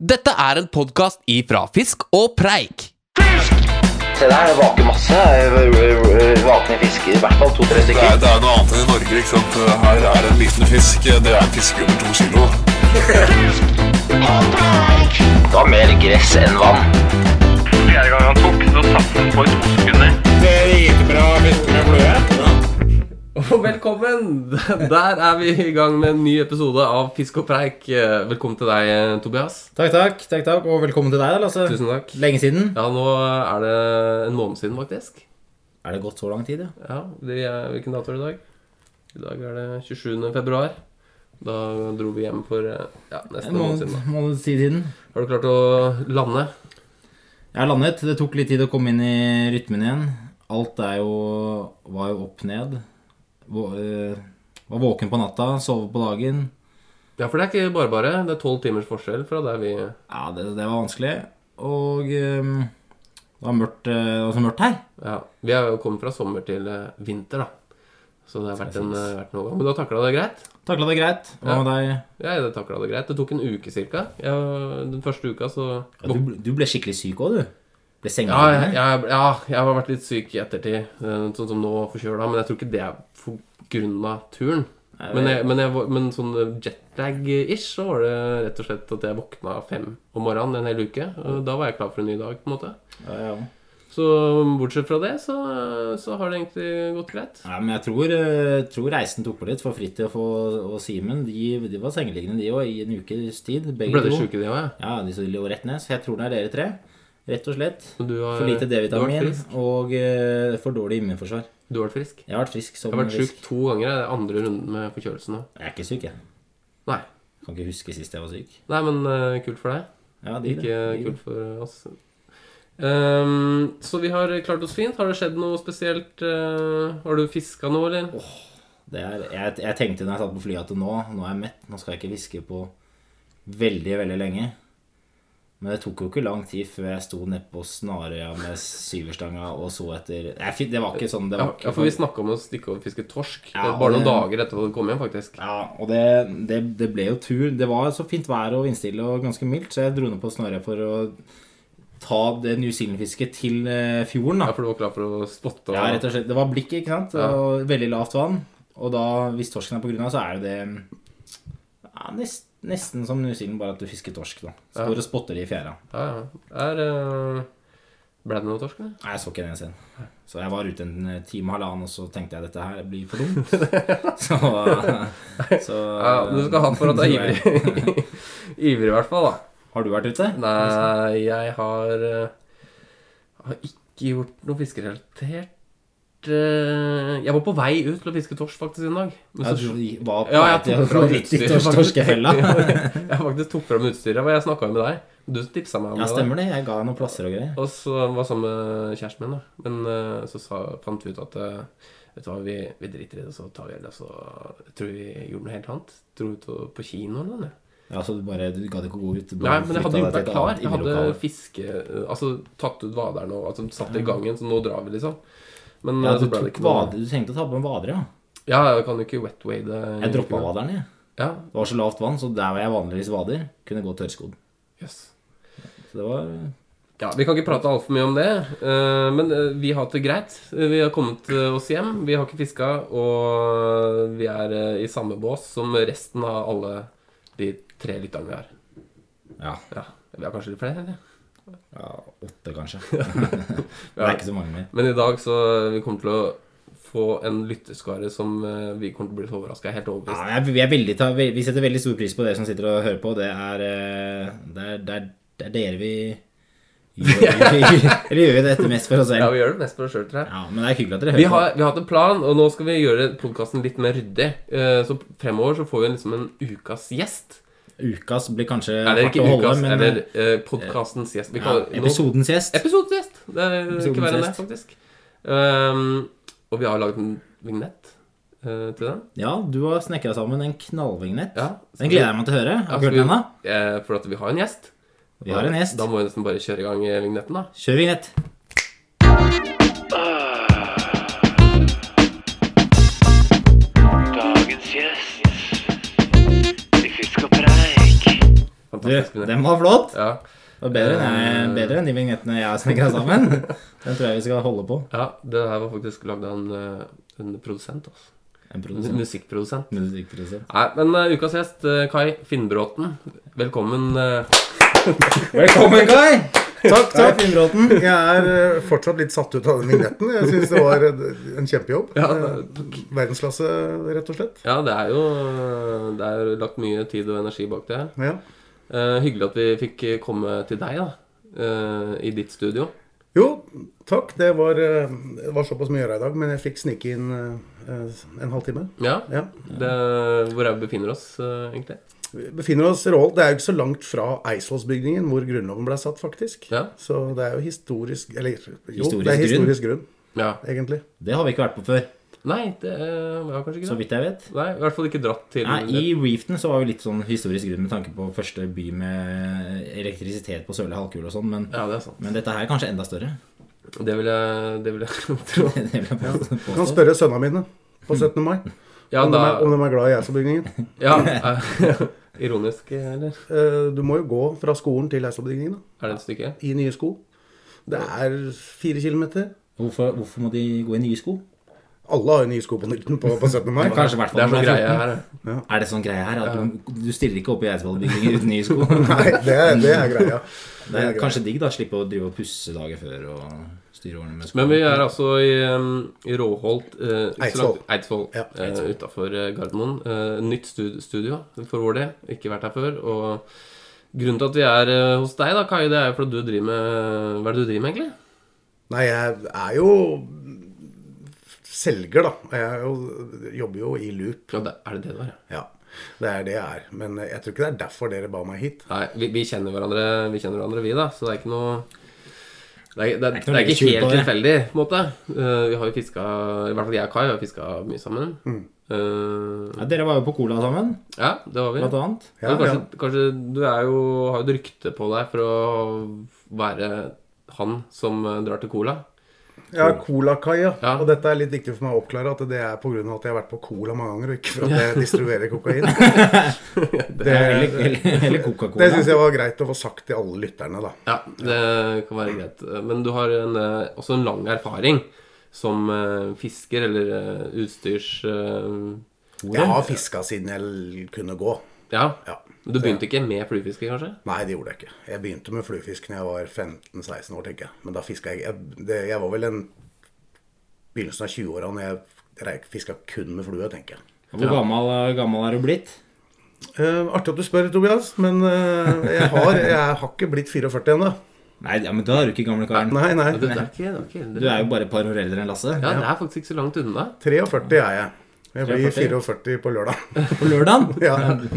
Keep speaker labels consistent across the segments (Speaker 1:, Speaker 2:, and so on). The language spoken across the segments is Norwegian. Speaker 1: Dette er en podkast ifra Fisk og Preik.
Speaker 2: Se der, det vaker masse. Vakne fisker, i hvert fall to-tre
Speaker 3: Det
Speaker 2: stykker.
Speaker 3: er, det er noe annet enn i Norge. ikke sant? Her er det en liten fisk. Det er en fisk under to kilo.
Speaker 2: Det var mer gress enn vann.
Speaker 4: Fjerde gang han tok, så satt han for to sekunder.
Speaker 1: Og velkommen! Der er vi i gang med en ny episode av Fisk og Preik. Eh, Velkommen til deg, eh, Tobias.
Speaker 5: Takk, takk, takk, takk, og velkommen til deg, da, Lasse.
Speaker 1: Tusen takk.
Speaker 5: Lenge siden.
Speaker 1: Ja, nå er det en måned siden, faktisk.
Speaker 5: Er det gått så lang tid, ja?
Speaker 1: Ja, det er, Hvilken dato er det i dag? I dag er det 27. februar. Da dro vi hjem for eh, ja, nesten
Speaker 5: En
Speaker 1: en måned
Speaker 5: måned,
Speaker 1: siden. da.
Speaker 5: måned siden.
Speaker 1: Har du klart å lande?
Speaker 5: Jeg har landet. Det tok litt tid å komme inn i rytmen igjen. Alt er jo var jo opp ned. Vå, eh, var våken på natta, sove på dagen.
Speaker 1: Ja, for det er ikke bare bare. Det er tolv timers forskjell fra der vi
Speaker 5: Ja, det, det var vanskelig. Og eh, det var mørkt, eh, det var så mørkt her.
Speaker 1: Ja, Vi har jo kommet fra sommer til eh, vinter, da. Så det har vært en, eh, vært en overgang. Men du har takla det greit?
Speaker 5: Takla det greit. Hva med deg?
Speaker 1: Ja, jeg takla det greit. Det tok en uke ca. Den første uka så
Speaker 5: Ja, du, ble- du ble skikkelig syk òg, du. Ble
Speaker 1: ja jeg,
Speaker 5: sengeliggende.
Speaker 1: jeg, ja, jeg har vært litt syk i ettertid, eh, sånn som nå forkjøla. Men jeg tror ikke det er for grunn av turen. Men, jeg, men, jeg, var- men sånn jetlag-ish, så var det rett og slett at jeg våkna fem om morgenen en hel uke. og Da var jeg klar for en ny dag, på en måte.
Speaker 5: Ja, ja.
Speaker 1: Så um, bortsett fra det, så, så har det egentlig gått greit.
Speaker 5: Nei, men jeg tror, eh, tror reisen tok på litt, for Fridtjof og, og Simen de, de var sengeliggende de òg, i en ukes tid. Begge
Speaker 1: Ble dere
Speaker 5: to.
Speaker 1: sjuke, de òg? Ja.
Speaker 5: Ja, de så lå rett ned. Så jeg tror det er dere tre. Rett og slett.
Speaker 1: Men du har-
Speaker 5: For lite
Speaker 1: du har vært
Speaker 5: D-vitamin
Speaker 1: frisk.
Speaker 5: og eh, for dårlig immunforsvar.
Speaker 1: Du har vært frisk? Jeg
Speaker 5: Jeg har vært frisk som
Speaker 1: har vært
Speaker 5: fisk.
Speaker 1: sjuk to ganger. Det er andre runden med forkjølelsen nå.
Speaker 5: Jeg er ikke syk, jeg.
Speaker 1: Nei.
Speaker 5: Kan ikke huske sist jeg var syk.
Speaker 1: Nei, men eh, kult for deg.
Speaker 5: Ja, de,
Speaker 1: Ikke kult for oss. Ehm, så vi har klart oss fint. Har det skjedd noe spesielt? eh, har du fiska noe, eller?
Speaker 5: Det er, jeg, jeg tenkte når jeg satt på flyet at nå, nå er jeg mett, nå skal jeg ikke hviske på veldig, veldig lenge. Men det tok jo ikke lang tid før jeg sto nedpå snarøya med syverstanga og så etter Nei, fy, det var ikke sånn. Det
Speaker 1: ja,
Speaker 5: var ikke
Speaker 1: ja, for vi snakka om å stikke og fiske torsk Det
Speaker 5: Ja,
Speaker 1: er bare noen
Speaker 5: det-
Speaker 1: dager etter at du kom hjem, faktisk.
Speaker 5: Ja, og det, det, det ble jo tur. Det var så fint vær og vindstille og ganske mildt, så jeg dro ned på snarøya for å ta det New Zealand-fisket til eh, fjorden,
Speaker 1: Ja,
Speaker 5: da.
Speaker 1: For du var klar for å spotte? og-
Speaker 5: Ja, rett og slett. Det var blikket, ikke sant?
Speaker 1: Ja.
Speaker 5: Og veldig lavt vann. Og da, hvis torsken er på grunna, så er jo det ja, nest, nesten som New Zealand, bare at du fisker torsk, da. Står og spotter de i fjæra.
Speaker 1: ja, ja. Er, eh, Ble det noe torsk, eller?
Speaker 5: Nei, jeg så ikke den eneste en. Så jeg var ute en eh, time og halvannen, og så tenkte jeg dette her blir for dumt. så, eh, så
Speaker 1: Ja, men du skal ha for at du er ivrig. ivrig, i hvert fall. da
Speaker 5: Har du vært ute?
Speaker 1: Nei, jeg har eh, Har ikke gjort noe fiskerelatert. eh, Jeg var på vei ut til å fiske torsk faktisk en dag. Men
Speaker 5: Ja,
Speaker 1: så,
Speaker 5: du var på
Speaker 1: Ja,
Speaker 5: vei
Speaker 1: jeg
Speaker 5: til
Speaker 1: tok
Speaker 5: å
Speaker 1: fram
Speaker 5: gå rett i
Speaker 1: utstyret,
Speaker 5: tors-
Speaker 1: faktisk.
Speaker 5: torskefella.
Speaker 1: jeg faktisk tok fram utstyret. og Jeg snakka jo med deg. Du tipsa meg om
Speaker 5: Ja,
Speaker 1: det. da.
Speaker 5: stemmer det. Jeg ga noen plasser og greier.
Speaker 1: Og så var sammen med kjæresten min, da. Men eh, så sa, fant vi ut at eh, Vet du hva, vi, vi driter i det, så tar vi det. Så jeg tror vi gjorde noe helt annet. Dro ut og, på kino eller noe.
Speaker 5: Ja, så du bare du gadd ikke å gå ut? Du
Speaker 1: Nei,
Speaker 5: bare
Speaker 1: men jeg
Speaker 5: flytta
Speaker 1: hadde gjort meg
Speaker 5: deg til et
Speaker 1: klar.
Speaker 5: annet
Speaker 1: Jeg hadde
Speaker 5: innelokale.
Speaker 1: fiske... Altså tatt ut vaderen og altså, satt i gangen, så nå drar vi, liksom. Men
Speaker 5: ja,
Speaker 1: eh,
Speaker 5: du,
Speaker 1: så ble det
Speaker 5: tok
Speaker 1: ikke noe
Speaker 5: vader, du trengte å ta på en vader, ja.
Speaker 1: Ja, jeg kan jo ikke wetway det.
Speaker 5: Jeg droppa vaderen, jeg.
Speaker 1: Ja,
Speaker 5: Det var så lavt vann, så der hvor jeg vanligvis vader, kunne gå tørrskodd.
Speaker 1: jøss.
Speaker 5: Så det var
Speaker 1: Ja, Vi kan ikke prate altfor mye om det, eh, men eh, vi har hatt det greit. Eh, Vi har kommet eh, oss hjem, vi har ikke fiska, og vi er eh, i samme bås som resten av alle de tre lytterne vi har.
Speaker 5: ja,
Speaker 1: Ja, Vi har kanskje litt flere, eller?
Speaker 5: ja åtte, kanskje. det er ikke så mange mer.
Speaker 1: Men i dag så eh, vi kommer til å få en lytterskare som eh, vi kommer til å bli så overraska. Helt
Speaker 5: Ja,
Speaker 1: overbevist.
Speaker 5: jeg, vi, er veldig, ta- vi vi setter veldig stor pris på dere som sitter og hører på. Det er, eh, det er, det er, det er dere vi gjør, Eller gjør vi dette mest for oss
Speaker 1: Ja,
Speaker 5: selv?
Speaker 1: vi gjør det mest for oss sjøl, tror jeg.
Speaker 5: Ja, men det er hyggelig at dere
Speaker 1: Vi
Speaker 5: hører på.
Speaker 1: har, vi har hatt en plan, og nå skal vi gjøre podkasten litt mer ryddig. Eh, Så fremover så får vi liksom en ukas gjest.
Speaker 5: Ukas blir kanskje
Speaker 1: Eller
Speaker 5: hardt
Speaker 1: ikke
Speaker 5: å holde,
Speaker 1: ukas,
Speaker 5: men
Speaker 1: eller eh, podkastens gjest. Vi
Speaker 5: ja,
Speaker 1: kaller- nå-
Speaker 5: episodens gjest.
Speaker 1: Episodens gjest. Det er eh,
Speaker 5: Episodens
Speaker 1: ikke verre enn det,
Speaker 5: gjest.
Speaker 1: faktisk. Ehm, og vi har laget en vignett eh, til den.
Speaker 5: Ja, du har snekra sammen en knallvignett.
Speaker 1: Ja.
Speaker 5: Den gleder jeg meg til å høre. Har du
Speaker 1: Ja,
Speaker 5: hørt den ennå?
Speaker 1: vi- eh, for at vi har en gjest.
Speaker 5: Vi har en gjest.
Speaker 1: Da må vi nesten bare kjøre i gang eh, vignetten, da.
Speaker 5: Kjør vignett.
Speaker 6: Dagens gjest i Fisk og preik.
Speaker 1: fantastisk.
Speaker 5: Den var flott!
Speaker 1: Ja,
Speaker 5: Det var bedre enn, jeg, bedre enn de vignettene jeg har snekra sammen. Den tror jeg vi skal holde på.
Speaker 1: ja, det her var faktisk lagd av en, eh, en produsent. Altså.
Speaker 5: En
Speaker 1: En
Speaker 5: produsent.
Speaker 1: musikkprodusent.
Speaker 5: Musikkprodusent.
Speaker 1: Nei, men eh, ukas gjest, eh, Kai Finnbråten. Velkommen. eh.
Speaker 5: Velkommen, Kai! Takk, takk. Finnbråten.
Speaker 6: Jeg er eh, fortsatt litt satt ut av den vignetten. Jeg syns det var eh, en kjempejobb.
Speaker 1: Ja,
Speaker 6: Eh, Verdensklasse, rett og slett.
Speaker 1: Ja, det er jo eh, Det er jo lagt mye tid og energi bak det her.
Speaker 6: Ja.
Speaker 1: Eh, hyggelig at vi fikk eh, komme til deg, da. eh, I ditt studio.
Speaker 6: Jo, takk. Det var, eh, det var såpass mye å gjøre i dag, men jeg fikk snike inn eh, en halvtime.
Speaker 1: Ja.
Speaker 6: Ja.
Speaker 1: Det, hvor er vi befinner oss, eh, egentlig?
Speaker 6: Vi befinner oss i Rål. Det er jo ikke så langt fra Eidsvollsbygningen, hvor Grunnloven ble satt, faktisk.
Speaker 1: Ja.
Speaker 6: Så det er jo historisk Eller jo,
Speaker 5: Historisk
Speaker 6: det er
Speaker 5: grunn.
Speaker 6: historisk grunn,
Speaker 1: Ja.
Speaker 6: egentlig.
Speaker 5: Det har vi ikke vært på før,
Speaker 1: Nei, det eh, var kanskje
Speaker 5: så
Speaker 1: ikke det.
Speaker 5: vidt jeg vet.
Speaker 1: Nei, I hvert fall ikke dratt til
Speaker 5: Nei, I Reefton så var jo litt sånn historisk grunn med tanke på første by med elektrisitet på sørlige halvkule og sånn, men,
Speaker 1: Ja, det er sant.
Speaker 5: men dette her er kanskje enda større.
Speaker 1: Det vil jeg, det vil jeg tro.
Speaker 5: Det vil jeg påstå.
Speaker 6: Du kan spørre sønnene mine på 17. mai
Speaker 1: Ja,
Speaker 6: om, de
Speaker 1: da
Speaker 6: er, om de er glad i Eidsvollsbygningen.
Speaker 1: ja, eh, Ironisk, eller?
Speaker 6: Eh, Du må jo gå fra skolen til Eidsvollsbygningen, da.
Speaker 1: Er det et stykke?
Speaker 6: i nye sko. Det er fire kilometer.
Speaker 5: Hvorfor, hvorfor må de gå i nye sko?
Speaker 6: Alle har jo nye sko på, nytt- på, på 17. mai.
Speaker 5: Kanskje i hvert
Speaker 1: Det
Speaker 5: fall
Speaker 1: er
Speaker 5: når
Speaker 1: sånn
Speaker 5: du
Speaker 1: greie her.
Speaker 5: 14. Er det sånn greie her at du, du stiller ikke opp i Eidsvollbygningen uten nye sko?
Speaker 6: Nei, det, er- det er greia.
Speaker 5: Det er kanskje digg da, slippe å drive og pusse dager før og styre årene med sko.
Speaker 1: Men vi er altså i, um, i Råholt eh, ikke så langt- Eidsvoll.
Speaker 6: Ja,
Speaker 1: eh, utenfor eh, Gardermoen. Eh, nytt stu- studio for vår del. Ikke vært her før. Og grunnen til at vi er eh, hos deg, da, Kai, det er jo fordi du driver med Hva er det du driver med, egentlig?
Speaker 6: Nei, jeg er jo selger, da. Jeg er jo, jobber jo i loop.
Speaker 1: Ja, det, er det det det var? ja?
Speaker 6: Ja, det er det jeg er. Men jeg tror ikke det er derfor dere ba meg hit.
Speaker 1: Nei, vi, vi, kjenner hverandre, vi kjenner hverandre, vi, da. Så det er ikke noe Det er, det er, det
Speaker 5: ikke
Speaker 1: er,
Speaker 5: noe å legge
Speaker 1: ikke
Speaker 5: skjul
Speaker 1: helt
Speaker 5: på, det.
Speaker 1: tilfeldig, på en måte. Eh, vi har jo fiska I hvert fall jeg og Kai har fiska mye sammen. Eh,
Speaker 5: Ja, dere var jo på cola sammen,
Speaker 1: ja, det var vi.
Speaker 5: blant annet.
Speaker 6: Ja,
Speaker 1: Men
Speaker 6: ja.
Speaker 1: kanskje, kanskje du er jo, har jo et rykte på deg for å være han som eh, drar til Cola.
Speaker 6: Jeg har Colakaia,
Speaker 1: Ja.
Speaker 6: og dette er litt viktig for meg å oppklare at det er pga. at jeg har vært på Cola mange ganger, og ikke for at jeg distribuerer kokain. Det,
Speaker 5: Eller, eller, eller
Speaker 6: det
Speaker 5: Coca-Cola.
Speaker 6: syns jeg var greit å få sagt til alle lytterne, da.
Speaker 1: Ja, det kan være greit. Men du har en, eh, også en lang erfaring som eh, fisker eller eh, utstyrs... eh,
Speaker 6: Jeg har fiska siden jeg kunne gå.
Speaker 1: ja.
Speaker 6: Ja.
Speaker 1: Men du begynte ikke med fluefiske, kanskje?
Speaker 6: Nei, det gjorde jeg ikke. Jeg begynte med fluefisk når jeg var 15-16 år, tenker jeg. Men da fiska jeg jeg, det, jeg var vel en begynnelsen av 20-åra når jeg reik- fiska kun med flue, tenker jeg.
Speaker 5: Hvor gammel, gammel er du blitt?
Speaker 6: Eh, artig at du spør, Tobias, men eh, jeg, har, jeg har ikke blitt 44 ennå.
Speaker 5: Nei, ja, men da er du ikke gamle karen.
Speaker 6: Nei, nei.
Speaker 1: Ja, Det, det er ikke, det er ikke
Speaker 5: Du er jo bare et par år eldre enn Lasse.
Speaker 1: Ja, det er faktisk ikke så langt unna.
Speaker 6: 43 er jeg. Jeg blir
Speaker 5: 43.
Speaker 6: 44 på lørdag.
Speaker 5: På lørdagen!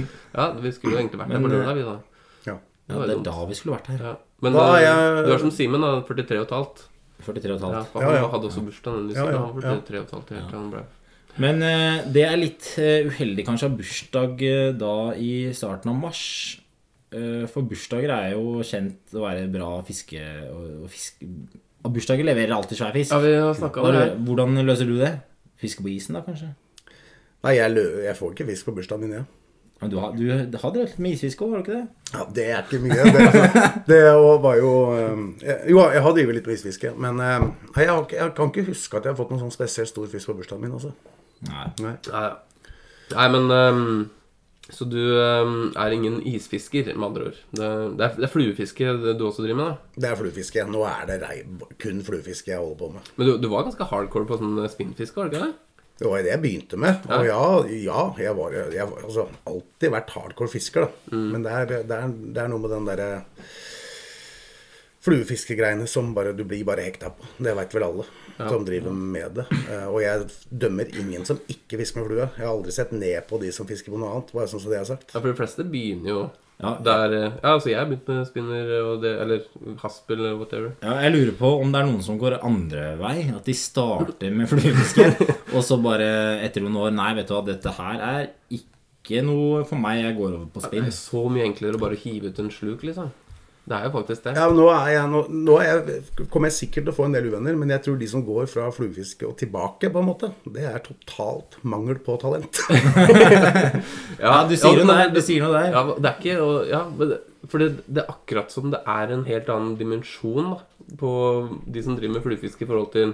Speaker 6: Ja.
Speaker 1: Ja, Vi skulle jo egentlig vært der på
Speaker 5: Men, eh,
Speaker 1: lørdag, vi da.
Speaker 6: Ja.
Speaker 5: Ja, det er da vi skulle vært her.
Speaker 1: Ja. Men
Speaker 6: Da er
Speaker 1: eh,
Speaker 6: jeg-
Speaker 1: du er som Simen, da. 43 og et halvt.
Speaker 5: 43 og et
Speaker 1: Ja,
Speaker 5: halvt.
Speaker 1: for
Speaker 6: Ja, ja.
Speaker 1: Han hadde også bursdag denne uka.
Speaker 6: Ja, ja,
Speaker 1: Han var
Speaker 6: ja.
Speaker 1: 43 og et halvt helt til han ble
Speaker 5: Men eh, det er litt eh, uheldig kanskje å ha bursdag eh, da i starten av mars. Eh, for bursdager er jo kjent å være bra fiske... Og, og fiske og bursdager leverer alltid svær fisk.
Speaker 1: Ja, vi har snakka om det.
Speaker 5: Da-
Speaker 1: her.
Speaker 5: Hvordan løser du det? Fiske på isen da, kanskje?
Speaker 6: Nei, jeg, lø- jeg får ikke fisk på bursdagen min, jeg.
Speaker 5: Men du, har- du hadde litt med isfiske òg, var det ikke det?
Speaker 6: Ja, det er ikke mye. Det, altså, det var jo eh, Jo, jeg har drevet litt med isfiske, men eh, nei, jeg, har, ikke- jeg kan ikke huske at jeg har fått noen sånn spesielt stor fisk på bursdagen min. Altså.
Speaker 5: Nei.
Speaker 1: Ja, ja. Nei, men ehm, Så du ehm, er ingen isfisker, med andre ord. Det, det, er, det er fluefiske det du også driver med, da.
Speaker 6: Det er fluefiske. Nå er det rei, kun fluefiske jeg holder på med.
Speaker 1: Men du, du var ganske hardcore på sånn spinnfiske, var du ikke det?
Speaker 6: Det var jo det jeg begynte med. Og ja, ja jeg har jeg, har altså, alltid vært hardcore fisker, da. Men det er, det, er, det er noe med den derre fluefiskegreiene som bare, du blir bare hekta på. Det veit vel alle som driver med det. Eh, Og jeg dømmer ingen som ikke fisker med flue. Jeg har aldri sett ned på de som fisker på noe annet. Bare sånn som det jeg har sagt.
Speaker 1: Ja, for de fleste begynner jo
Speaker 5: Ja.
Speaker 1: der eh, Ja, altså, jeg har begynt med spinner og det Eller haspel eller whatever.
Speaker 5: Ja, jeg lurer på om det er noen som går andre vei. At de starter med fluefiske, og så bare etter noen år Nei, vet du hva, dette her er ikke noe for meg. Jeg går over på
Speaker 1: Det
Speaker 5: spinn.
Speaker 1: er så mye enklere å bare hive ut en sluk, liksom. Det er jo faktisk det.
Speaker 6: Ja, nå, er jeg, nå, nå er jeg, kommer jeg sikkert til å få en del uvenner, men jeg tror de som går fra fluefiske og tilbake, på en måte, det er totalt mangel på talent.
Speaker 5: Ja, du sier noe
Speaker 1: men-
Speaker 5: der, du sier noe der.
Speaker 1: Ja, det er ikke og, ja, men det- For det, det er akkurat som det er en helt annen dimensjon da, på de som driver med fluefiske i forhold til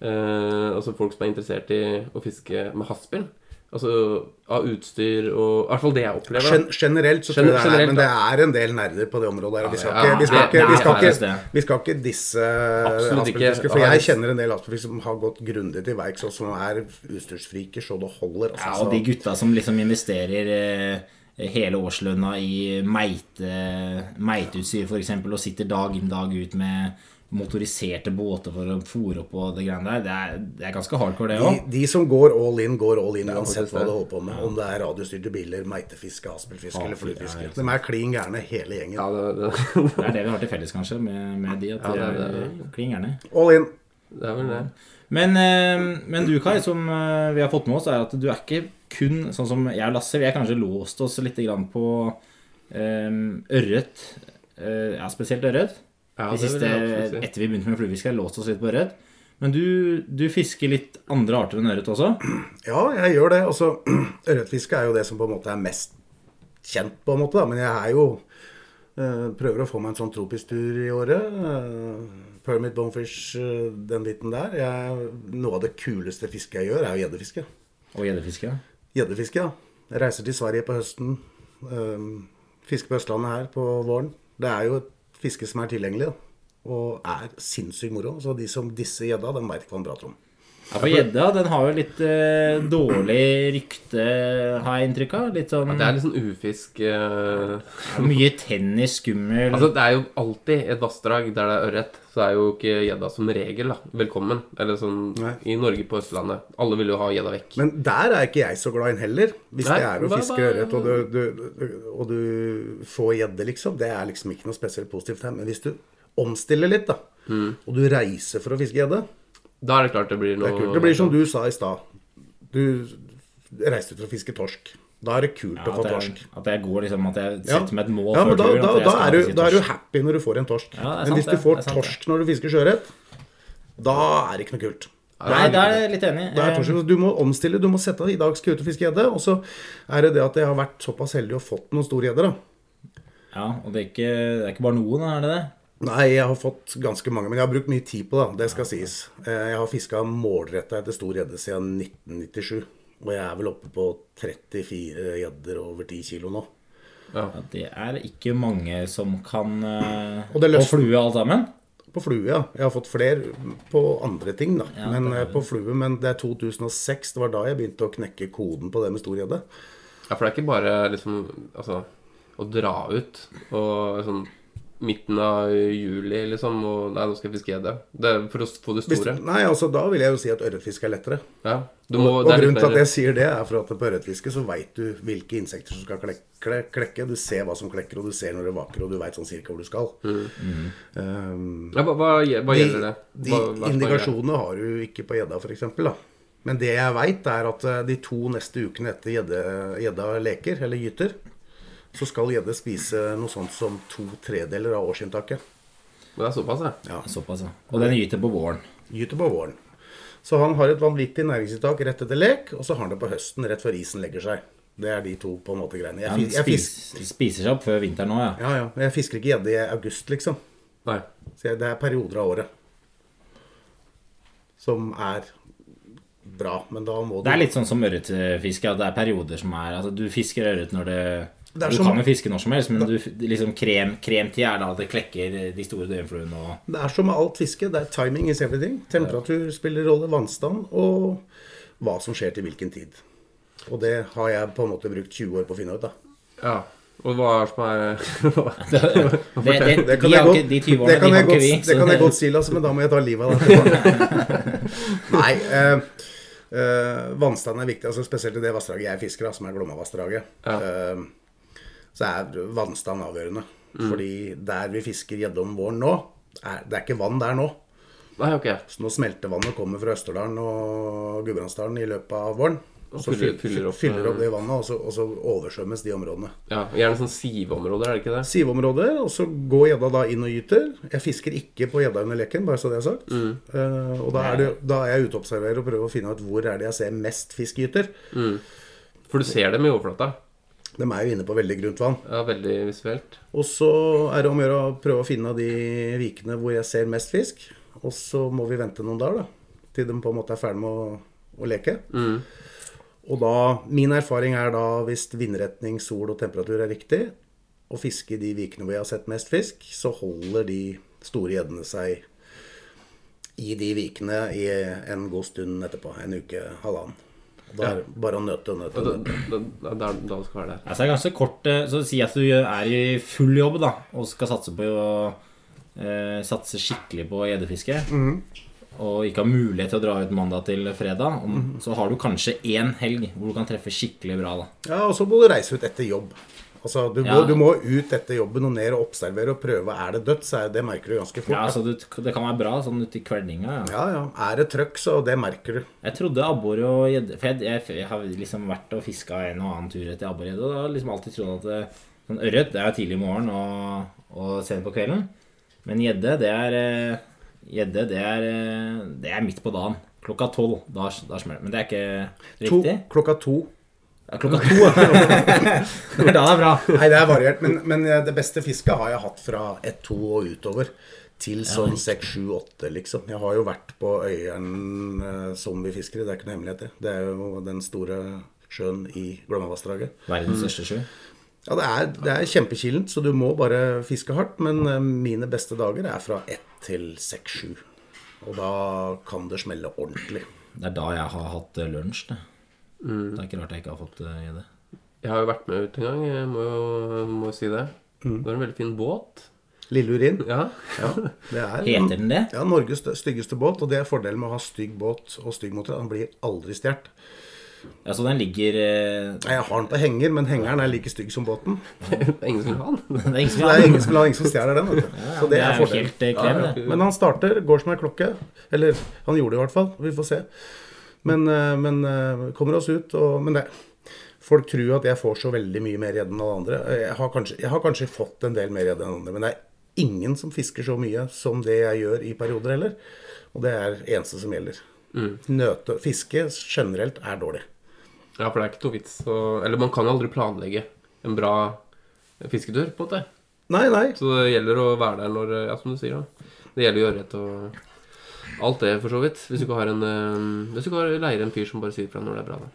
Speaker 1: eh, altså folk som er interessert i å fiske med haspel. Altså av utstyr og I hvert fall det jeg opplever. da.
Speaker 6: Gen generelt så
Speaker 1: Gen-
Speaker 6: tror jeg det er,
Speaker 1: generelt,
Speaker 6: men det er en del nerder på det området her. og Vi skal
Speaker 1: Ja,
Speaker 6: ikke, vi skal
Speaker 1: det-
Speaker 6: ikke, vi
Speaker 1: det
Speaker 6: skal
Speaker 1: er
Speaker 5: faktisk
Speaker 6: ikke,
Speaker 5: det.
Speaker 6: vi skal ikke disse
Speaker 1: Absolutt ikke.
Speaker 6: aspelfiskere, for jeg
Speaker 1: Aris.
Speaker 6: kjenner en del aspelfiskere som har gått grundig til verks, og som er utstyrsfriker så det holder.
Speaker 5: Ja,
Speaker 6: Altså,
Speaker 5: og de gutta som liksom investerer eh, hele årslønna i meite, meiteutstyr f.eks., og sitter dag inn dag ut med motoriserte båter for å fòre opp og det greiene der, det er, det er ganske hardcore, det
Speaker 6: de,
Speaker 5: òg.
Speaker 6: de som går all in, går all in uansett
Speaker 1: faktisk
Speaker 6: hva
Speaker 1: det.
Speaker 6: du holder på med. Om det er radiostyrte biler, meitefiske, aspelfiske eller
Speaker 5: Aspel, ja,
Speaker 6: fluefiske.
Speaker 5: ikke
Speaker 6: De er klin gærne hele gjengen.
Speaker 1: Ja, det, det,
Speaker 5: Det er det vi har til felles, kanskje, med, med de. At
Speaker 1: Ja,
Speaker 5: det
Speaker 1: det er
Speaker 5: er klin gærne.
Speaker 6: All in.
Speaker 1: det er vel det.
Speaker 5: Men, eh, men du, Kai, som eh, vi har fått med oss, er at du er ikke kun sånn som jeg og Lasse. Vi har kanskje låst oss litt grann på eh, ørret. Eh, ja, spesielt ørret.
Speaker 1: Ja,
Speaker 5: De
Speaker 1: det vil
Speaker 5: siste,
Speaker 1: jeg absolutt si.
Speaker 5: etter vi begynte med fluefiske, har vi låst oss litt på ørret. Men du, du fisker litt andre arter enn ørret også?
Speaker 6: Ja, jeg gjør det. Altså, ørretfiske er jo det som på en måte er mest kjent, på en måte. Da. Men jeg er jo eh, Prøver å få meg en sånn tropisk tur i året. eh, permit bonefish, eh, den biten der. Jeg, noe av det kuleste fisket jeg gjør, er jo gjeddefiske.
Speaker 5: Og gjeddefiske. ja.
Speaker 6: Gjeddefiske, ja. Jeg reiser til Sverige på høsten. eh, fisker på Østlandet her på våren. Det er jo et fiske som er tilgjengelig, da. Og er sinnssykt moro. Så de som disser gjedda, de veit hva de prater om.
Speaker 5: Ja, for gjedda den har jo litt eh, dårlig rykte, har jeg inntrykk av. Litt sånn
Speaker 1: Det er litt sånn ufisk eh,
Speaker 5: mye tennis, skummel
Speaker 1: Altså, det er jo alltid et vassdrag der det er ørret, så er jo ikke gjedda som regel da, velkommen. Eller sånn
Speaker 6: Nei.
Speaker 1: i Norge på Østlandet. Alle vil jo ha gjedda vekk.
Speaker 6: Men der er ikke jeg så glad inn heller. Hvis
Speaker 1: Nei,
Speaker 6: det er å
Speaker 1: hva-
Speaker 6: fiske
Speaker 1: hva-
Speaker 6: ørret og du, du, du- og du får gjedde, liksom. Det er liksom ikke noe spesielt positivt her. Men hvis du omstiller litt, da, og du reiser for å fiske gjedde
Speaker 1: Da er det klart det blir
Speaker 6: Det
Speaker 1: noe
Speaker 6: er kult. Det blir som du sa i stad. Du reiste for å fiske torsk. Da er det kult
Speaker 5: Ja,
Speaker 6: å få
Speaker 5: at,
Speaker 6: torsk.
Speaker 5: jeg, at jeg går liksom At jeg
Speaker 6: Ja.
Speaker 5: setter meg et mål
Speaker 6: ja, men
Speaker 5: før
Speaker 6: da,
Speaker 5: tur.
Speaker 6: da,
Speaker 5: at jeg
Speaker 6: da,
Speaker 5: skal
Speaker 6: er du,
Speaker 5: fiske
Speaker 6: da er du
Speaker 5: torsk.
Speaker 6: happy når du får en torsk.
Speaker 5: Ja, det er sant
Speaker 6: men hvis
Speaker 5: det.
Speaker 6: du får
Speaker 5: Det er sant
Speaker 6: torsk når du fisker sjøørret, da er det ikke noe kult.
Speaker 5: Nei, da er jeg litt enig.
Speaker 6: Det er torsk. Du må omstille. Du må sette deg I dag skal jeg ut og fiske gjedde. Og så er det det at jeg har vært såpass heldig og fått noen store gjedder, da.
Speaker 5: Ja, og det er, ikke, det er ikke bare noen, er det det?
Speaker 6: Nei, jeg har fått ganske mange, men jeg har brukt mye tid på det. da, Det skal sies. Eh, Jeg har fiska målretta etter stor gjedde siden 1997. Og jeg er vel oppe på 34 gjedder over 10 kilo nå.
Speaker 5: Ja, det er ikke mange som kan eh,
Speaker 6: Og
Speaker 5: få
Speaker 6: det løsner.
Speaker 5: flue alt sammen.
Speaker 6: På flue, ja. Jeg har fått flere på andre ting, da. men, eh, på flue, men det er 2006. Det var da jeg begynte å knekke koden på det med stor gjedde.
Speaker 1: Ja, for det er ikke bare liksom Altså, å dra ut og sånn midten av juli, liksom, og Nei, nå skal jeg fiske gjedde. Det er for å få det
Speaker 6: Hvis-
Speaker 1: store.
Speaker 6: Nei, altså Da vil jeg jo si at ørretfiske er lettere.
Speaker 1: Ja. Du må
Speaker 6: Og
Speaker 1: det er litt
Speaker 6: grunnen til at
Speaker 1: mer-
Speaker 6: jeg sier det, er for at på ørretfiske så veit du hvilke insekter som skal klek- kle- klekke. Du ser hva som klekker, og du ser når det vaker, og du veit sånn cirka hvor du skal. Um,
Speaker 1: ja, hva, hva, Mm. hva
Speaker 6: de
Speaker 1: gjelder det?
Speaker 6: de
Speaker 1: Hva, hva er det?
Speaker 6: indikasjonene har du ikke på gjedda, f.eks. Men det jeg veit, er at eh, de to neste ukene etter gjedde- gjedda leker, eller gyter, så skal gjedde spise noe sånt som to tredeler av årsinntaket.
Speaker 1: Men det er såpass, ja.
Speaker 5: Såpass, ja. Og den gyter på våren.
Speaker 6: gyter på våren. Så han har et vanvittig næringsinntak rett etter lek, og så har han det på høsten rett før isen legger seg. Det er de to på en måte greiene.
Speaker 5: Den
Speaker 6: Jeg, fis- jeg,
Speaker 5: spis,
Speaker 6: fisk,
Speaker 5: spiser seg opp før vinteren nå, ja.
Speaker 6: ja, ja, jeg fisker ikke gjedde i august, liksom.
Speaker 1: Nei.
Speaker 6: Så jeg, det er perioder av året som er bra. Men da må du
Speaker 5: Det er litt sånn som ørretfiske, at det er perioder som er Altså, du fisker ørret når det,
Speaker 6: Det er
Speaker 5: Du
Speaker 6: som-
Speaker 5: kan jo fiske når som helst, men du, liksom krem, kremtid er da det klekker de store døgnfluene og
Speaker 6: Det er som med alt fiske. Det er timing is everything. Temperatur spiller rolle, vannstand og hva som skjer til hvilken tid. Og det har jeg på en måte brukt 20 år på å finne ut, da.
Speaker 1: Ja. Og hva er det som er
Speaker 5: det, det, det,
Speaker 6: Det kan
Speaker 5: de,
Speaker 6: jeg
Speaker 5: har
Speaker 6: godt,
Speaker 5: ikke, de 20 årene,
Speaker 6: det kan
Speaker 5: de
Speaker 6: jeg
Speaker 5: har ikke
Speaker 6: godt,
Speaker 5: vi.
Speaker 6: det
Speaker 5: så
Speaker 6: kan jeg godt si, Lasse, men da må jeg ta livet av deg. Nei, eh, eh, vannstanden er viktig, altså spesielt i det vassdraget jeg fisker, da, som er Glommavassdraget. Eh, så er vannstand avgjørende.
Speaker 5: Mm.
Speaker 6: Fordi der vi fisker gjedde om våren nå, er, det er ikke vann der nå.
Speaker 1: Nei, ok.
Speaker 6: Så nå smeltevannet kommer fra Østerdalen og Gudbrandsdalen i løpet av våren.
Speaker 1: Og
Speaker 6: Så
Speaker 1: fyller,
Speaker 6: fyll-
Speaker 1: fyller opp,
Speaker 6: fyller opp
Speaker 1: eh,
Speaker 6: det vannet, og så, og så oversvømmes de områdene.
Speaker 1: Ja, Gjerne sånn siveområder, er det ikke det?
Speaker 6: Siveområder, og så går gjedda da inn og gyter. Jeg fisker ikke på gjedda under leken, bare så det er sagt. Eh, og da er, det, da er jeg ute og observerer og prøver å finne ut hvor er det jeg ser mest fisk gyter.
Speaker 1: For du ser dem i overflata.
Speaker 6: De er jo inne på veldig grunt vann.
Speaker 1: Ja, Veldig visuelt.
Speaker 6: Og så er det om å gjøre å prøve å finne de vikene hvor jeg ser mest fisk. Og så må vi vente noen dager, da. Til de på en måte er ferdig med å, å leke. Og da Min erfaring er da hvis vindretning, sol og temperatur er riktig, og fiske i de vikene hvor jeg har sett mest fisk, så holder de store gjeddene seg i de vikene i en god stund etterpå. En uke, halvannen. Da er det bare å nøte og nøte.
Speaker 1: Og
Speaker 6: og
Speaker 1: da,
Speaker 6: nøte.
Speaker 1: da, da, da, da skal være der.
Speaker 5: Altså, det er ganske kort eh, Så si at du er i full jobb da og skal satse på å eh, satse skikkelig på gjeddefiske, og ikke har mulighet til å dra ut mandag til fredag, om, så har du kanskje én helg hvor du kan treffe skikkelig bra. da
Speaker 6: Ja, og så må du reise ut etter jobb. Altså, du, må,
Speaker 5: Ja.
Speaker 6: du må ut etter jobben og ned og observere og prøve. Er det dødt, så er det, det merker du ganske fort.
Speaker 5: Ja,
Speaker 6: Ja,
Speaker 5: altså, du, Det kan være bra sånn uti kveldinga. Ja.
Speaker 6: ja, Er det trøkk, så det merker du.
Speaker 5: Jeg trodde abbor og gjedde For jeg, jeg, jeg har liksom vært og fiska en og annen tur etter abborgjedde. Og da har jeg liksom alltid trodd at det, sånn ørret det er tidlig i morgen og, og sent på kvelden. Men gjedde, det er eh, Gjedde, det er eh, Det er midt på dagen. Klokka tolv. Da, da smeller det. Men det er ikke
Speaker 6: To,
Speaker 5: riktig.
Speaker 6: klokka to.
Speaker 5: Ja, klokka to. ja. For da er det bra.
Speaker 6: Nei, det er variert. Men, men eh, det beste fisket har jeg hatt fra 1-2 og utover. Til sånn 6-7-8, liksom. Jeg har jo vært på Øyeren eh, zombiefiskere. Det er ikke noe hemmelighet, det. Det er jo den store sjøen i Glommavassdraget.
Speaker 5: Verdens største sjø.
Speaker 6: Ja, det er, det er kjempekilent, så du må bare fiske hardt. Men eh, mine beste dager er fra ett til seks-sju. Og da kan det smelle ordentlig.
Speaker 5: Det er da jeg har hatt eh, lunsj. Det.
Speaker 6: Mm.
Speaker 5: det er ikke rart jeg ikke har fått eh, gjedde.
Speaker 1: Jeg har jo vært med ut en gang, jeg må jo må jo si det.
Speaker 6: Mm.
Speaker 1: Det var en veldig fin båt.
Speaker 6: Lille urin.
Speaker 1: Ja.
Speaker 6: Ja, det er
Speaker 5: Heter den det?
Speaker 6: Ja, Norges stø- styggeste båt. Og det er fordelen med å ha stygg båt og stygg motor. Den blir aldri stjålet.
Speaker 5: Ja, så den ligger eh,
Speaker 6: Nei, Jeg har den på henger, men hengeren er like stygg som båten.
Speaker 1: Det er Ingen som vil ha den.
Speaker 5: Det er ingen som
Speaker 6: Det er ingen som, ingen som stjeler den. Vet du. Så det
Speaker 5: Det
Speaker 6: er
Speaker 5: er jo
Speaker 6: fordelen.
Speaker 5: helt eh, klem, det.
Speaker 6: Men han starter, går som ei klokke. Eller han gjorde det i hvert fall. Vi får se. Men, eh, men eh, kommer oss ut og Men det, folk tror at jeg får så veldig mye mer gjedde enn alle andre. Jeg har, kanskje, jeg har kanskje fått en del mer gjedde enn andre, men det er ingen som fisker så mye som det jeg gjør i perioder heller. Og det er det eneste som gjelder. Nøte, fiske generelt er dårlig.
Speaker 1: Ja, for det er ikke noe vits å Eller man kan jo aldri planlegge en bra fisketur, på en måte.
Speaker 6: Nei, nei.
Speaker 1: Så det gjelder å være der når Ja, som du sier, da. Det gjelder jo ørret og alt det, for så vidt. Hvis du ikke har en eh, Hvis du ikke har leier en fyr som bare sier fra når det er bra, da.